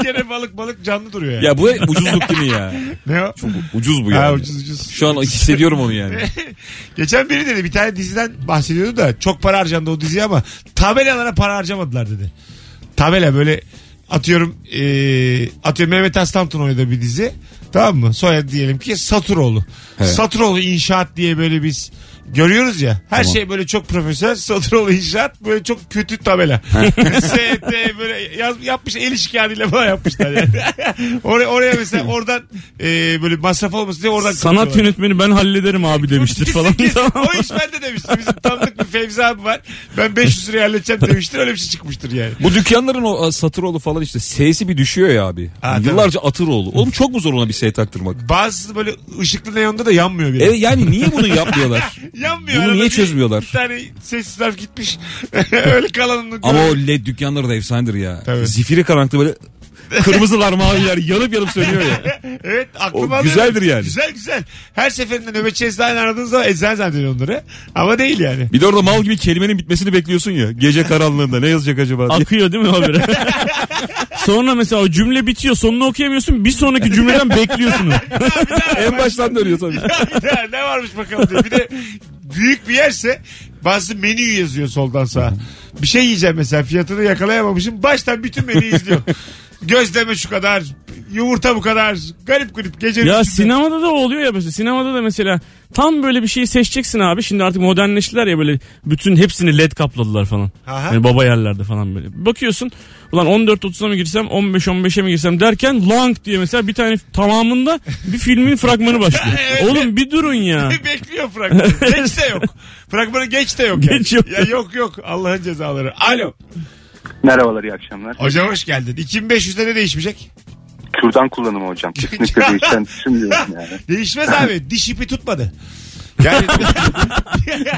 B: o gene balık balık canlı duruyor yani.
C: Ya bu ucuzluk değil mi ya?
B: Ne o?
C: Ucuz bu yani.
B: Ha, ucuz ucuz.
C: Şu an hissediyorum onu yani.
B: Geçen biri dedi bir tane diziden bahsediyordu da çok para harcandı o diziye ama tabelalara para harcamadılar dedi. Tabela böyle atıyorum eee, atıyorum Mehmet Aslanton oynadı bir dizi. Tamam mı? Soyadı diyelim ki Saturoğlu.
C: Evet.
B: Saturoğlu İnşaat diye böyle biz görüyoruz ya. Her
C: Tamam.
B: şey böyle çok profesyonel. Saturoğlu İnşaat böyle çok kötü tabela. ST böyle yaz- yapmış el işgaliyle falan yapmışlar yani. oraya, oraya mesela oradan eee, böyle masraf olmasın diye oradan
D: Sanat
B: kapatıyorlar.
D: yönetmeni ben hallederim abi demiştir falan.
B: Kesin, kesin.
D: Tamam.
B: O iş bende demişti. Bizim tanıdık bir Fevzi abi var. Ben 500 liraya halledeceğim demiştir. Öyle bir şey çıkmıştır yani.
C: Bu dükkanların o a, Satıroğlu falan işte S'si bir düşüyor ya abi.
B: Ha, tabii.
C: Yıllarca Atıroğlu. Oğlum çok mu zor ona bir S taktırmak?
B: Bazısı böyle ışıklı neonda da yanmıyor bile.
C: E, yani niye bunu yapmıyorlar?
B: Yanmıyor.
C: Bunu
B: arada
C: niye
B: bir-
C: çözmüyorlar?
B: Bir tane sessiz harf gitmiş. Öyle kalanını.
C: Ama o led dükkanları da efsanedir ya.
B: Tabii.
C: Zifiri karanlıkta böyle kırmızılar maviler yanıp yanıp sönüyor ya.
B: Evet aklıma
C: O
B: alıyor.
C: güzeldir yani.
B: Güzel güzel. Her seferinde nöbetçi eczane aradığın zaman eczane zannediyor onları. Ama değil yani.
C: Bir de orada mal gibi kelimenin bitmesini bekliyorsun ya. Gece karanlığında ne yazacak acaba diye.
D: Akıyor değil mi haberi? Sonra mesela o cümle bitiyor sonunu okuyamıyorsun bir sonraki cümleden bekliyorsun.
C: en baştan dönüyor tabii.
B: Ya ne varmış bakalım diye. Bir de büyük bir yerse Bazısı menüyü yazıyor soldan sağa. Bir şey yiyeceğim mesela fiyatını yakalayamamışım. Baştan bütün menüyü izliyor. Gözleme şu kadar. Yumurta bu kadar. Garip garip gece.
D: Ya
B: üçünde.
D: sinemada da oluyor ya mesela. Sinemada da mesela tam böyle bir şeyi seçeceksin abi. Şimdi artık modernleştiler ya böyle bütün hepsini led kapladılar falan.
B: Aha.
D: Yani baba yerlerde falan böyle. Bakıyorsun ulan 14.30'a mı girsem 15-15'e mi girsem derken lang diye mesela bir tane tamamında bir filmin fragmanı başlıyor.
B: Evet.
D: Oğlum bir durun ya.
B: Bekliyor fragmanı. Geç de yok. Fragmanı geç de yok. yani.
D: Geç yok.
B: Ya yok yok. Allah'ın cezaları. Alo.
E: Merhabalar iyi akşamlar.
B: Hocam hoş geldin. 2500'de ne değişmeyecek?
E: Kürdan kullanımı hocam. Kesinlikle değişen düşünmüyorum yani.
B: Değişmez abi. Diş ipi tutmadı. Yani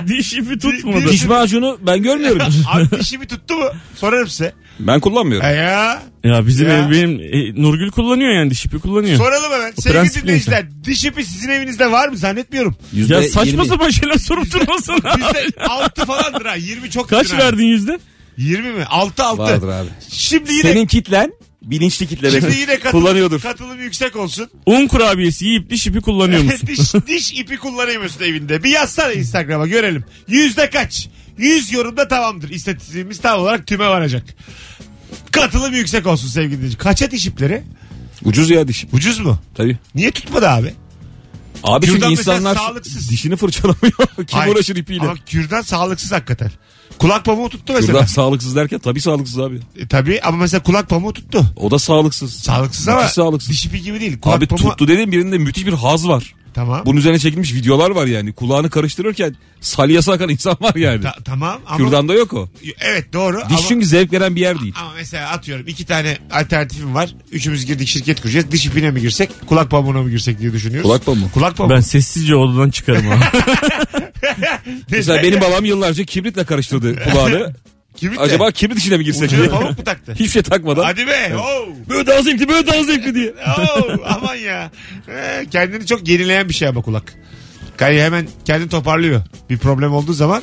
D: Diş ipi tutmadı.
B: Diş-
C: Diş macunu ben görmüyorum.
B: abi diş ipi tuttu mu? Sorarım size.
C: ben
B: E
C: kullanmıyorum.
B: ya.
D: Ya bizim
B: Ya.
D: ev benim e, Nurgül kullanıyor yani diş ipi kullanıyor.
B: Soralım hemen. Sevgili
D: prensip
B: dinleyiciler diş ipi sizin evinizde var mı? Zannetmiyorum.
C: Yüzde
D: ya saçma
C: yirmi.
D: sapan şeyler sorup durmasana.
B: Bizde 6 falandır ha. 20 çok
D: Kaç
B: üstün abi.
D: verdin yüzde?
B: 20 mi? 6 6.
C: Vardır abi.
B: Şimdi yine
C: Senin kitlen bilinçli kitle.
B: Şimdi
C: be.
B: yine katılım,
C: kullanıyordur.
B: katılım yüksek olsun.
D: Un kurabiyesi yiyip diş ipi kullanıyor musun?
B: diş, diş ipi kullanıyorsun evinde. Bir yazsana Instagram'a görelim. Yüzde kaç? 100 yorumda tamamdır. İstatistiğimiz tam olarak tüme varacak. Katılım yüksek olsun sevgili dinleyici. Kaça diş ipleri?
C: Ucuz ya dişim.
B: Ucuz mu?
C: Tabii.
B: Niye tutmadı abi?
C: Abi çünkü
B: Kürdan mesela
C: insanlar
B: sağlıksız.
C: dişini fırçalamıyor. Kim
B: Hayır.
C: uğraşır ipiyle?
B: Ama kürdan sağlıksız hakikaten. Kulak pamuğu tuttu mesela.
C: Kürdan sağlıksız derken tabii sağlıksız abi.
B: E, tabii ama mesela kulak pamuğu tuttu.
C: O da sağlıksız.
B: Sağlıksız ama
C: Müthiş sağlıksız.
B: diş ipi gibi değil. Kulak
C: Abi
B: pamuğu...
C: tuttu dediğim birinde müthiş bir haz var.
B: Tamam.
C: Bunun üzerine çekilmiş videolar var yani. Kulağını karıştırırken salyası akan insan var yani.
B: Ta- tamam ama...
C: Kürdanda yok o.
B: Evet doğru
C: Diş
B: ama...
C: çünkü zevk veren bir yer değil.
B: Ama mesela atıyorum iki tane alternatifim var. Üçümüz girdik şirket kuracağız. Diş ipine mi girsek, kulak pamuğuna mı girsek diye düşünüyoruz.
C: Kulak pamuğu.
B: Kulak pamuğu.
D: Ben sessizce odadan çıkarım abi.
C: Mesela benim babam yıllarca kibritle karıştırdı kulağını.
B: Kibrit e, de.
C: Acaba kibrit içine mi girsek
B: Ucuna
C: diye.
B: pamuk mu taktı?
C: Hiçbir şey takmadan.
B: Hadi be. oh! Oo.
C: Böyle daha zevkli böyle daha zevkli diye.
B: Oo. Aman ya. Ee, kendini çok yenileyen bir şey ama kulak. Kayı hemen kendini toparlıyor. Bir problem olduğu zaman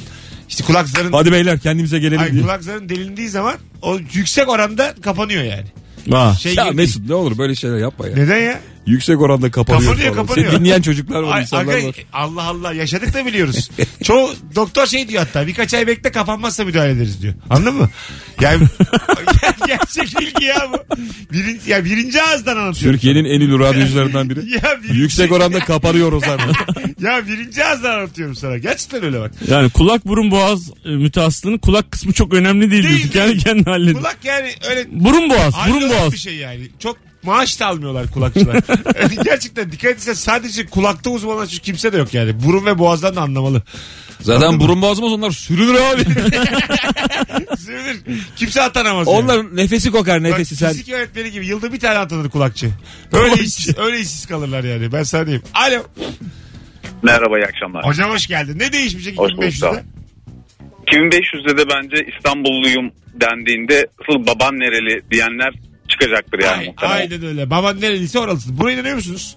B: işte kulak zarın
C: Hadi beyler kendimize gelelim
B: Ay,
C: diye.
B: kulak zarın delindiği zaman o yüksek oranda kapanıyor yani.
D: Ha.
B: Şey
C: Ya
B: gibi
C: Mesut ne olur böyle şeyler yapma ya.
B: değil. Neden ya?
C: Yüksek oranda kapanıyor.
B: Kapanıyor,
C: falan.
B: kapanıyor.
C: Seni dinleyen çocuklar var
B: Ay,
C: insanlar
B: aga,
C: var.
B: Allah Allah yaşadık da biliyoruz. Çoğu doktor şey diyor hatta birkaç ay bekle kapanmazsa müdahale ederiz diyor. Anladın mı? Yani ger- gerçek bilgi ya bu. Birinci, ya birinci ağızdan anlatıyor.
C: Türkiye'nin en ünlü radyocularından biri.
B: Ya birinci,
C: Yüksek oranda kapanıyor o zaman.
B: ya birinci ağızdan anlatıyorum sana. Gerçekten öyle bak.
D: Yani kulak burun boğaz e, mütehassının kulak kısmı çok önemli değil,
B: Değil,
D: diyorsun. Kendi
B: değil.
D: kendine halledin.
B: Kulak yani öyle
D: Burun boğaz, burun
B: ayrılan
D: boğaz.
B: bir şey yani. Çok maaş da almıyorlar kulakçılar. Yani gerçekten dikkat etsen sadece kulakta uzmanlaşmış kimse de yok yani. Burun ve boğazdan da anlamalı.
C: Zaten burun boğazmaz onlar sürünür abi.
B: Sürünür. Kimse atanamaz. yani.
C: onlar nefesi kokar
B: Bak,
C: nefesi sen.
B: Fizik öğretmeni gibi yılda bir tane atanır kulakçı. Öyle işsiz, öyle işsiz kalırlar yani. Ben sana diyeyim. Alo.
G: Merhaba iyi akşamlar.
B: Hocam hoş geldin. Ne değişmeyecek
G: Hoş bulduk, sağ ol.
B: 2500'de?
G: 2500'de de bence İstanbulluyum dendiğinde asıl baban nereli diyenler çıkacaktır yani
B: Ay,
G: muhtemelen.
B: aynen öyle. Baban nereliyse oralısın. Buna inanıyor musunuz?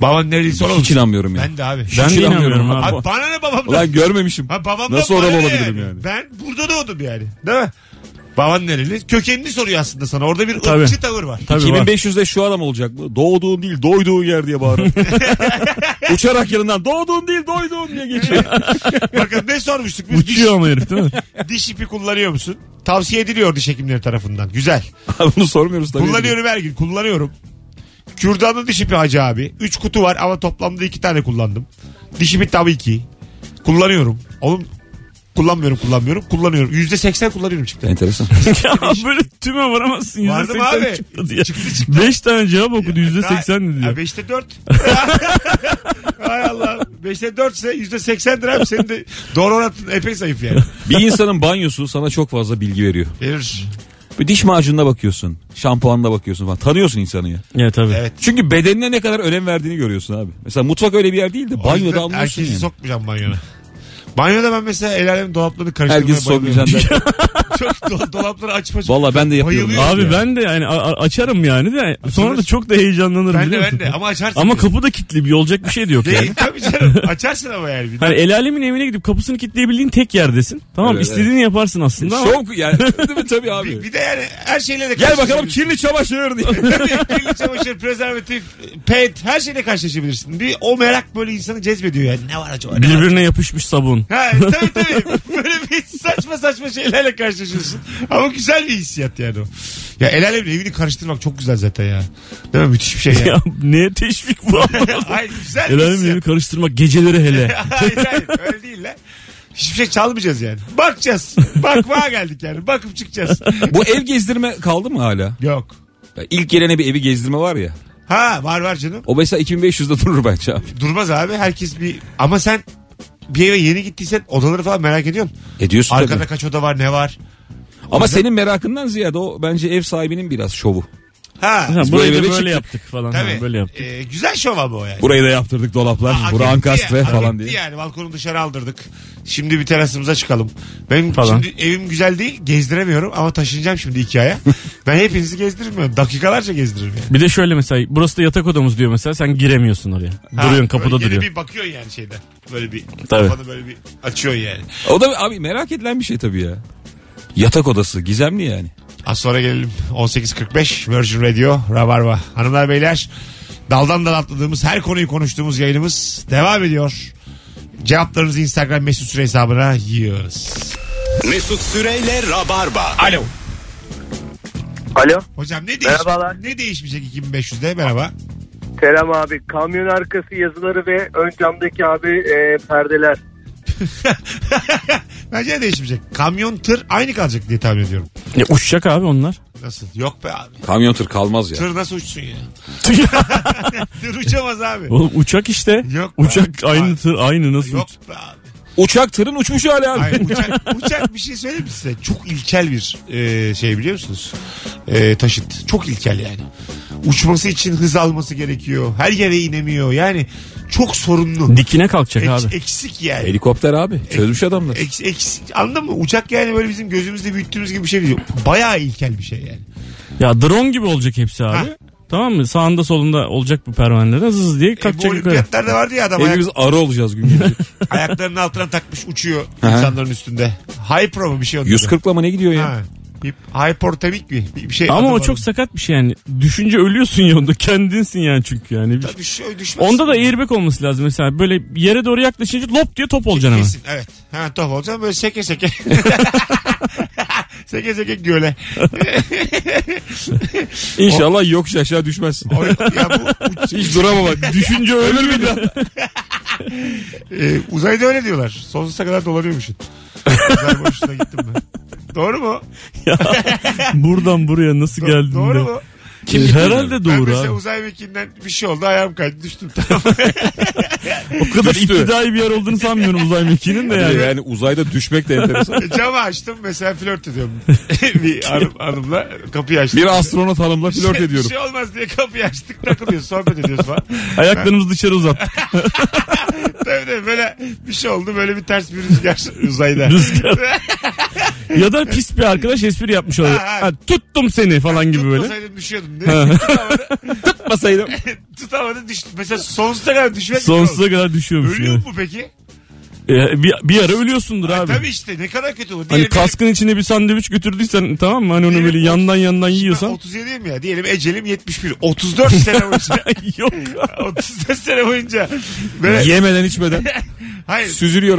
B: Baban nereliyse
C: Hiç
B: oralısın.
C: inanmıyorum ya.
B: Ben de abi.
D: Ben de inanmıyorum
C: inanmıyorum.
D: abi.
B: Abi bana ne babamdan?
C: Ulan görmemişim.
B: ha, babamdan
C: Nasıl
B: bana ne
C: oralı olabilirim yani?
B: Ben burada doğdum yani. Değil mi? Baban nereli? Kökenini soruyor aslında sana. Orada bir
D: Tabii.
B: ırkçı tavır var.
D: Tabii var.
C: 2500'de şu adam olacak mı? Doğduğun değil doyduğun yer diye bağırır. Uçarak yanından doğduğun değil doyduğun diye geçiyor.
B: Bakın ne sormuştuk biz? Diş,
D: Uçuyor ama herif değil mi?
B: diş ipi kullanıyor musun? Tavsiye ediliyor diş hekimleri tarafından. Güzel.
C: Abi Bunu sormuyoruz tabii.
B: Kullanıyorum her gün. Kullanıyorum. Kürdanlı diş ipi hacı abi. 3 kutu var ama toplamda 2 tane kullandım. Diş ipi tabii ki. Kullanıyorum. Oğlum kullanmıyorum kullanmıyorum. Kullanıyorum. %80 kullanıyorum çıktı.
C: Enteresan.
D: ya böyle tüme varamazsın.
B: Vardı mı
D: %80
B: abi?
D: çıktı diye.
B: Çıktı çıktı.
D: 5 tane cevap okudu %80 dedi.
B: Daha-
D: diyor.
B: Ha, Beşte dört. Hay Allah. Beşte dört ise yüzde seksendir abi. Senin de doğru oranın epey zayıf yani.
C: Bir insanın banyosu sana çok fazla bilgi veriyor.
B: Verir.
C: Bir diş macununa bakıyorsun. Şampuanına bakıyorsun falan. Tanıyorsun insanı ya.
D: Ya tabii.
B: Evet.
C: Çünkü bedenine ne kadar önem verdiğini görüyorsun abi. Mesela mutfak öyle bir yer değil de
B: O yüzden
C: banyoda anlıyorsun
B: Herkesi
C: yani.
B: sokmayacağım banyona. Banyoda ben mesela el alemin dolaplarını karıştırmaya
C: Herkesi
B: bayılıyorum.
C: sokmayacaksın derken.
B: Çok do- dolapları açma.
C: Valla ben de yapıyorum.
B: Bayılıyorum.
D: Abi
C: ya.
D: ben de yani a- a- açarım yani de sonra da çok da heyecanlanırım
B: Ben de
D: biliyor
B: ben
D: musun?
B: de ama açarsın.
D: Ama
B: diyor.
D: kapı da kilitli bir olacak bir şey de yok yani.
B: Değil tabii canım. Açarsın ama yani.
D: Hani el alemin evine gidip kapısını kilitleyebildiğin tek yerdesin. Tamam
C: Evet,
D: istediğini yaparsın aslında ama.
C: Şok yani. Değil mi? Tabii
B: Bir,
C: abi.
B: bir de yani her şeyle de
C: Gel bakalım
B: karşılaşabilirsin.
C: kirli çamaşır diye.
B: Tabii, kirli çamaşır, prezervatif, pet her şeyle karşılaşabilirsin. Bir o merak böyle insanı cezbediyor yani. Ne var acaba? Ne var?
D: Birbirine yapışmış sabun.
B: Ha, tabii tabii. Böyle bir saçma saçma şeylerle karşılaşıyorsun. Ama güzel bir hissiyat yani o. Ya el alemin evini karıştırmak çok güzel zaten ya. Değil mi? Müthiş bir şey ya.
D: ya neye teşvik bu?
B: Hayır güzel bir
D: El alemin
B: hissiyat.
D: evi karıştırmak geceleri hele.
B: hayır hayır öyle değil lan. Hiçbir şey çalmayacağız yani. Bakacağız. Bakmaya geldik yani. Bakıp çıkacağız.
C: Bu ev gezdirme kaldı mı hala?
B: Yok.
C: Ya İlk gelene bir evi gezdirme var ya.
B: Ha var var canım.
C: O mesela 2500'de durur bence abi.
B: Durmaz abi herkes bir ama sen bir eve yeni gittiysen odaları falan merak ediyorsun.
C: Ediyorsun
B: Arkada
C: E tabii.
B: kaç oda var ne var.
C: Ama senin merakından ziyade o bence ev sahibinin biraz şovu.
B: Ha.
D: Ha,
C: bu
D: burayı
C: evde
D: da böyle
C: çıktık.
D: yaptık falan. Ha,
B: Tabii.
D: böyle yaptık.
B: Ee, güzel şov ama o yani.
C: Burayı da yaptırdık dolaplar.
B: Hak
C: Bura
B: etti
C: ankastre
B: ya, hak
C: falan
B: etti
C: diye.
B: Yani balkonu dışarı aldırdık. Şimdi bir terasımıza çıkalım. Benim
D: Falan.
B: şimdi evim güzel değil gezdiremiyorum ama taşınacağım şimdi iki aya. ben hepinizi gezdirmiyorum. Dakikalarca gezdiririm yani.
D: Bir de şöyle mesela burası da yatak odamız diyor mesela sen giremiyorsun oraya. duruyorsun
B: Ha,
D: kapıda
B: böyle yine
D: duruyorsun.
B: Bir bakıyorsun yani şeyden. Böyle bir
D: Tabii.
B: kafanı böyle bir açıyorsun yani.
C: O da abi merak edilen bir şey tabii ya. Yatak odası gizemli yani.
B: Az sonra gelelim. 18.45 Virgin Radio Rabarba. Hanımlar beyler daldan dala atladığımız her konuyu konuştuğumuz yayınımız devam ediyor. Cevaplarınızı Instagram mesut süre hesabına yığınız.
A: Mesut Süreyle Rabarba.
B: Alo.
E: Alo.
B: Hocam ne, değiş
E: Merhabalar.
B: ne değişmeyecek 2500'de merhaba.
E: Selam abi. Kamyon arkası yazıları ve ön camdaki abi e, perdeler.
B: Bence de değişmeyecek. Kamyon tır aynı kalacak diye tahmin ediyorum.
D: Ya uçacak abi onlar.
B: Nasıl? Yok be abi.
C: Kamyon tır kalmaz ya.
B: Tır nasıl uçsun ya? Tır uçamaz abi.
D: Oğlum uçak işte.
B: Yok be.
D: uçak aynı tır aynı nasıl
B: Yok
D: uç-
B: be abi.
C: Uçak tırın uçmuş hali abi.
B: Hayır, uçak, uçak bir şey söyleyeyim mi size? Çok ilkel bir e, şey biliyor musunuz? E, taşıt. Çok ilkel yani. Uçması için hız alması gerekiyor. Her yere inemiyor. Yani çok sorunlu.
D: Dikine kalkacak
B: Ek-
D: abi.
B: eksik yani.
C: Helikopter abi. Çözmüş adamlar.
B: Eks, eks, anladın mı? Uçak yani böyle bizim gözümüzde büyüttüğümüz gibi bir şey değil. Bayağı ilkel bir şey yani.
D: Ya drone gibi olacak hepsi abi.
B: Ha.
D: Tamam mı? Sağında solunda olacak bu pervanelere hız diye
B: E, bu
D: kalkacak yukarı.
B: olimpiyatlarda vardı ya adam ayak,
C: Hepimiz arı olacağız gün gelecek.
B: ayaklarının altına takmış uçuyor insanların üstünde. Hypro mu bir şey onun adı?
C: 140'la mı ne gidiyor ya?
B: Ha. Bir- Hypertermik mi? Bir, bir şey
D: Ama
B: adı
D: o
B: var
D: çok sakat bir şey yani. Düşünce ölüyorsun ya onda. Kendinsin yani çünkü yani.
B: onun. Bir şey düşmez.
D: Onda da airbag olması lazım mesela. Böyle yere doğru yaklaşınca lop diye top olacaksın hemen.
B: Kesin evet. Ha top olacağım böyle seke seke. seke seke göle.
C: İnşallah yokuş aşağı düşmez.
B: O- ya bu uç-
C: Hiç duramamak. Düşünce ölür mü daha?
B: e, uzayda öyle diyorlar. Sonsuza kadar dolanıyormuşsun. Uzay boşluğuna gittim ben. Doğru mu?
D: Buradan buraya nasıl
B: Do-
D: geldin
B: doğru
D: de.
B: mu?
D: Kim Herhalde
B: Ben
D: doğru
B: mesela
D: abi.
B: uzay mekiğinden bir şey oldu ayağım kaydı düştüm. Tamam.
D: O kadar
C: Düştü.
D: iktidai bir yer olduğunu sanmıyorum uzay mekiğinin de yani.
C: Yani uzayda düşmek de enteresan.
B: E, Camı açtım mesela flört ediyorum. bir hanım, hanımla kapıyı açtım.
C: Bir astronot hanımla flört ediyorum.
B: Bir şey olmaz diye kapıyı açtık takılıyoruz sohbet ediyoruz falan.
D: Ayaklarımızı dışarı uzattık.
B: Tabii tabii böyle bir şey oldu böyle bir ters bir rüzgar uzayda.
D: Rüzgar. ya da pis bir arkadaş espri yapmış oluyor.
B: Ha, ha.
D: Ha, tuttum seni falan gibi böyle.
B: Tutmasaydım düşüyordum. Ne? Tutamadı,
D: Tutmasaydım.
B: tutamadı düştü. Mesela sonsuza kadar düşmek
D: Sonsuza kadar düşüyormuş.
B: Ölüyor
D: yani.
B: mu peki? E,
D: Ee, bir, bir ara ölüyorsundur abi.
B: Tabii işte ne kadar kötü olur.
D: Hani
B: Diyelim
D: kaskın içine bir sandviç götürdüysen tamam mı? Hani onu
B: Diyelim
D: böyle
B: otuz-
D: yandan yandan
B: benim- ben
D: yiyorsan.
B: 37 mi ya? Diyelim ecelim 71. 34 sene boyunca.
D: Yok.
B: 34 sene boyunca. Böyle,
C: Yemeden içmeden
B: hayır.
C: süzülüyor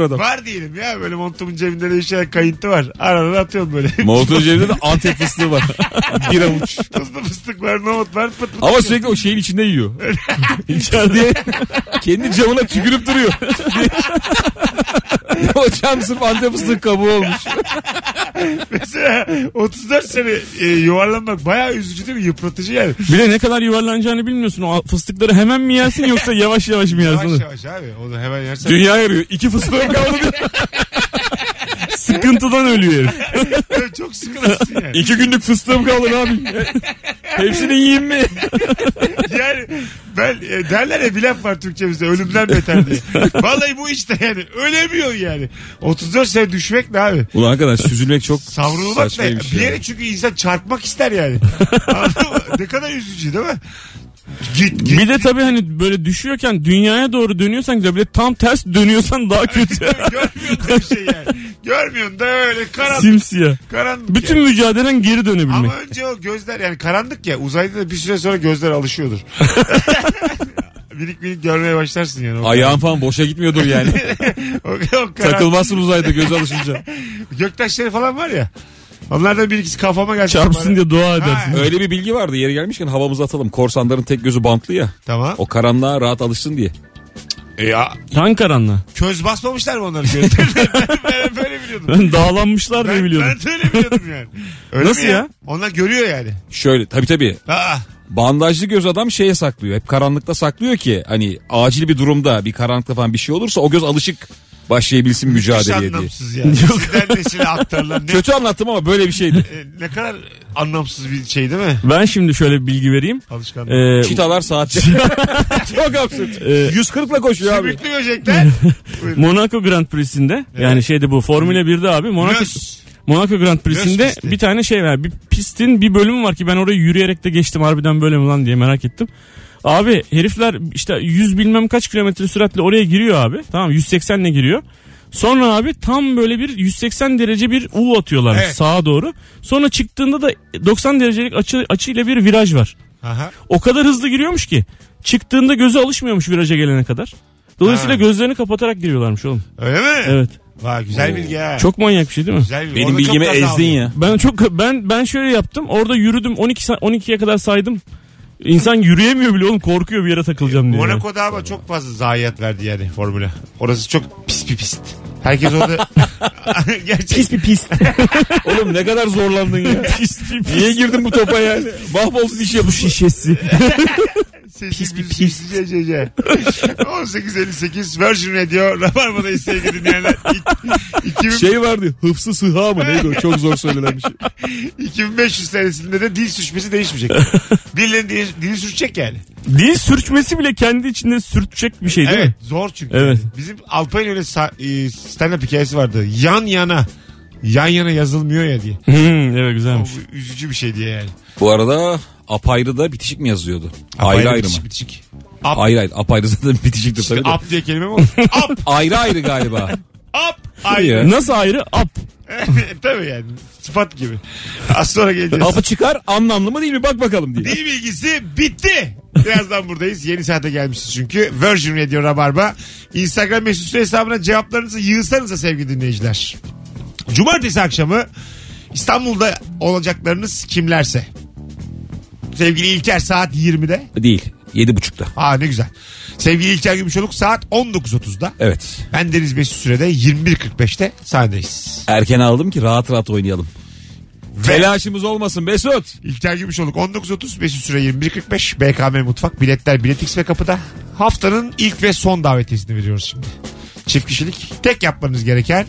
C: adam.
B: Var diyelim ya böyle montumun cebinde de şeyler kayıntı var. Arada da atıyorum böyle.
C: Molotov cebinde de antep fıstığı var. Bir avuç.
B: Tuzlu fıstık var, nohut var. Pıt pıt.
C: Ama sürekli o şeyin içinde yiyor. İçeride kendi camına tükürüp duruyor. o cam sırf antep fıstığı kabuğu olmuş.
B: Mesela 34 sene e, yuvarlanmak bayağı üzücü değil mi? Yıpratıcı yani.
D: Bir de ne kadar yuvarlanacağını bilmiyorsun. O fıstıkları hemen mi yersin yoksa yavaş yavaş mı yersin?
B: Yavaş yavaş abi. O da hemen yersen.
C: Dünya yarıyor. İki fıstığım kaldı.
D: Sıkıntıdan ölüyor herif.
B: çok sıkılırsın yani.
C: İki günlük fıstığım kaldı abi. Hepsini yiyeyim mi?
B: yani ben e, derler ya bir laf var Türkçemizde ölümden beter diye. Vallahi bu işte yani ölemiyor yani. 34 sene düşmek ne abi?
C: Ulan arkadaş süzülmek çok
B: Savrulmak ne?
C: şey.
D: şey.
B: Bir yere çünkü insan çarpmak ister yani. Anladın mı? ne kadar üzücü değil mi? Git git.
D: Bir de tabii hani böyle düşüyorken dünyaya doğru dönüyorsan güzel. Bir de tam ters dönüyorsan daha kötü.
B: Görmüyorsun da bir şey yani. Görmüyorsun da öyle karanlık.
D: Simsiyah.
B: karanlık
D: Bütün
B: yani.
D: mücadelen geri dönebilmek.
B: Ama önce o gözler yani karanlık ya uzayda da bir süre sonra gözler alışıyordur. minik minik görmeye başlarsın yani. O kadar.
C: Ayağın falan boşa gitmiyordur yani.
B: O, o kadar.
C: Takılmazsın uzayda göz alışınca.
B: Göktaşları falan var ya. Onlardan bir ikisi kafama geldi.
D: Çarpsın diye dua edersin.
B: Ha,
C: Öyle bir bilgi vardı yeri gelmişken havamızı atalım. Korsanların tek gözü bantlı ya.
B: Tamam.
C: O karanlığa rahat alışsın diye.
B: E ya
D: Tan karanlığı.
B: köz basmamışlar mı onları gözlerine? ben, ben böyle biliyordum.
D: Ben dağlanmışlar diye
B: Ben,
D: biliyordum.
B: ben de öyle biliyordum yani. Öyle
D: Nasıl
B: mi
D: ya?
B: Onlar görüyor yani.
C: Şöyle tabii tabii
B: Aa,
C: bandajlı göz adam şeye saklıyor. Hep karanlıkta saklıyor ki hani acil bir durumda bir karanlıkta falan bir şey olursa o göz alışık başlayabilsin
B: hiç
C: mücadeleye diye.
B: anlamsız yani. Sizden nesini aktarlar. Ne,
C: Kötü anlattım ama böyle bir şeydi.
B: e, ne kadar anlamsız bir şey değil mi?
D: Ben şimdi şöyle bir bilgi vereyim.
B: Alışkanlık.
D: Ee,
C: Çitalar saatçi. Çok absürt.
D: Ee,
C: 140'la koşuyor abi.
B: Kemikli böcekler. Buyurun.
D: Monaco Grand Prix'sinde yani şeyde bu Formula 1'de abi Monaco
B: Göz.
D: Monaco
B: Göz
D: Grand Prix'sinde
B: pisti.
D: bir tane şey var. Bir pistin bir bölümü var ki ben orayı yürüyerek de geçtim harbiden böyle mi lan diye merak ettim. Abi herifler işte 100 bilmem kaç kilometre süratle oraya giriyor abi. Tamam 180 ile giriyor. Sonra abi tam böyle bir 180 derece bir U atıyorlar
B: Evet.
D: sağa doğru. Sonra çıktığında da 90 derecelik açı, açıyla bir viraj var.
B: Aha.
D: O kadar hızlı giriyormuş ki çıktığında gözü alışmıyormuş viraja gelene kadar. Dolayısıyla
B: Ha.
D: gözlerini kapatarak giriyorlarmış oğlum.
B: Öyle mi?
D: Evet.
B: Vay güzel bilgi ha.
D: Çok manyak bir şey değil mi?
B: güzel bilgi. Onu
C: Benim
B: çok
C: bilgimi
B: az
C: ezdin
B: aldım.
C: ya.
D: Ben çok ben ben şöyle yaptım. Orada yürüdüm 12 sa- 12'ye kadar saydım. İnsan yürüyemiyor bile oğlum korkuyor bir yere takılacağım diye.
B: Monaco'da ama çok fazla zayiat verdi yani formüle. Orası çok pis bir pist. Herkes orada gerçek
D: bir pis.
C: Oğlum ne kadar zorlandın ya. Niye girdin bu topa ya? Mahvolsun iş yapmış.
D: şişesi.
B: Pis bir pis. 1858 Virgin Radio Rabarba'dayız sevgili dinleyenler. İk- 2000
C: Şey vardı hıfsı sıha mı neydi o çok zor söylenen bir şey.
B: 2500 senesinde de dil sürçmesi değişmeyecek. Birilerinin dil, dili sürçecek yani.
D: Dil sürçmesi bile kendi içinde sürtecek bir şey değil
B: Evet
D: mi?
B: zor çünkü.
D: Evet.
B: Bizim Alpay'ın öyle sa- e, stand-up hikayesi vardı. Yan yana yan yana yazılmıyor ya diye.
D: Hmm, evet
B: O
D: güzelmiş.
B: bu üzücü bir şey diye yani.
C: Bu arada apayrı da bitişik mi yazıyordu? ayrı
B: Alpay'la
C: ayrı mı?
B: bitişik, Bitişik. Ap,
C: Ayrı ayrı. Apayrı zaten bitişiktir
B: işte
C: tabii de.
B: ap diye kelime mi olur? ap,
C: Ayrı ayrı galiba.
B: ap, ay.
C: Ya.
D: Nasıl ayrı? Up.
B: Tabii yani. Sıfat gibi. Az sonra geleceğiz.
C: Apı çıkar anlamlı mı değil mi bak bakalım diye.
B: Dil bilgisi bitti. Birazdan buradayız. Yeni saate gelmişiz çünkü. Virgin Radio Rabarba. Instagram mesut süre hesabına cevaplarınızı yığsanıza sevgili dinleyiciler. Cumartesi akşamı İstanbul'da olacaklarınız kimlerse. Sevgili İlker saat 20'de.
C: Değil. Yedi buçukta.
B: Aa ne güzel. Sevgili İlker Gümüşoluk saat 19.30'da.
C: Evet.
B: Ben Deniz Mesut Süre'de 21.45'te sahnedeyiz.
C: Erken aldım ki rahat rahat oynayalım. Telaşımız olmasın Besut.
B: İlker Gümüşoluk 19.30 Mesut Süre 21.45 BKM Mutfak biletler biletix ve kapıda. Haftanın ilk ve son davetiyesini veriyoruz şimdi. Çift kişilik tek yapmanız gereken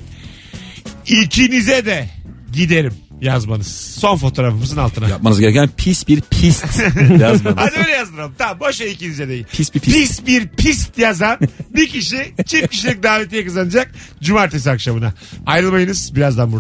B: ikinize de giderim yazmanız. Son fotoğrafımızın altına.
C: Yapmanız gereken pis bir pist yazmanız.
B: Hadi öyle yazdıralım. Tamam boşa ikinize değil.
C: Pis bir pist.
B: Pis bir pist yazan bir kişi çift kişilik davetiye kazanacak cumartesi akşamına. Ayrılmayınız birazdan buradayız.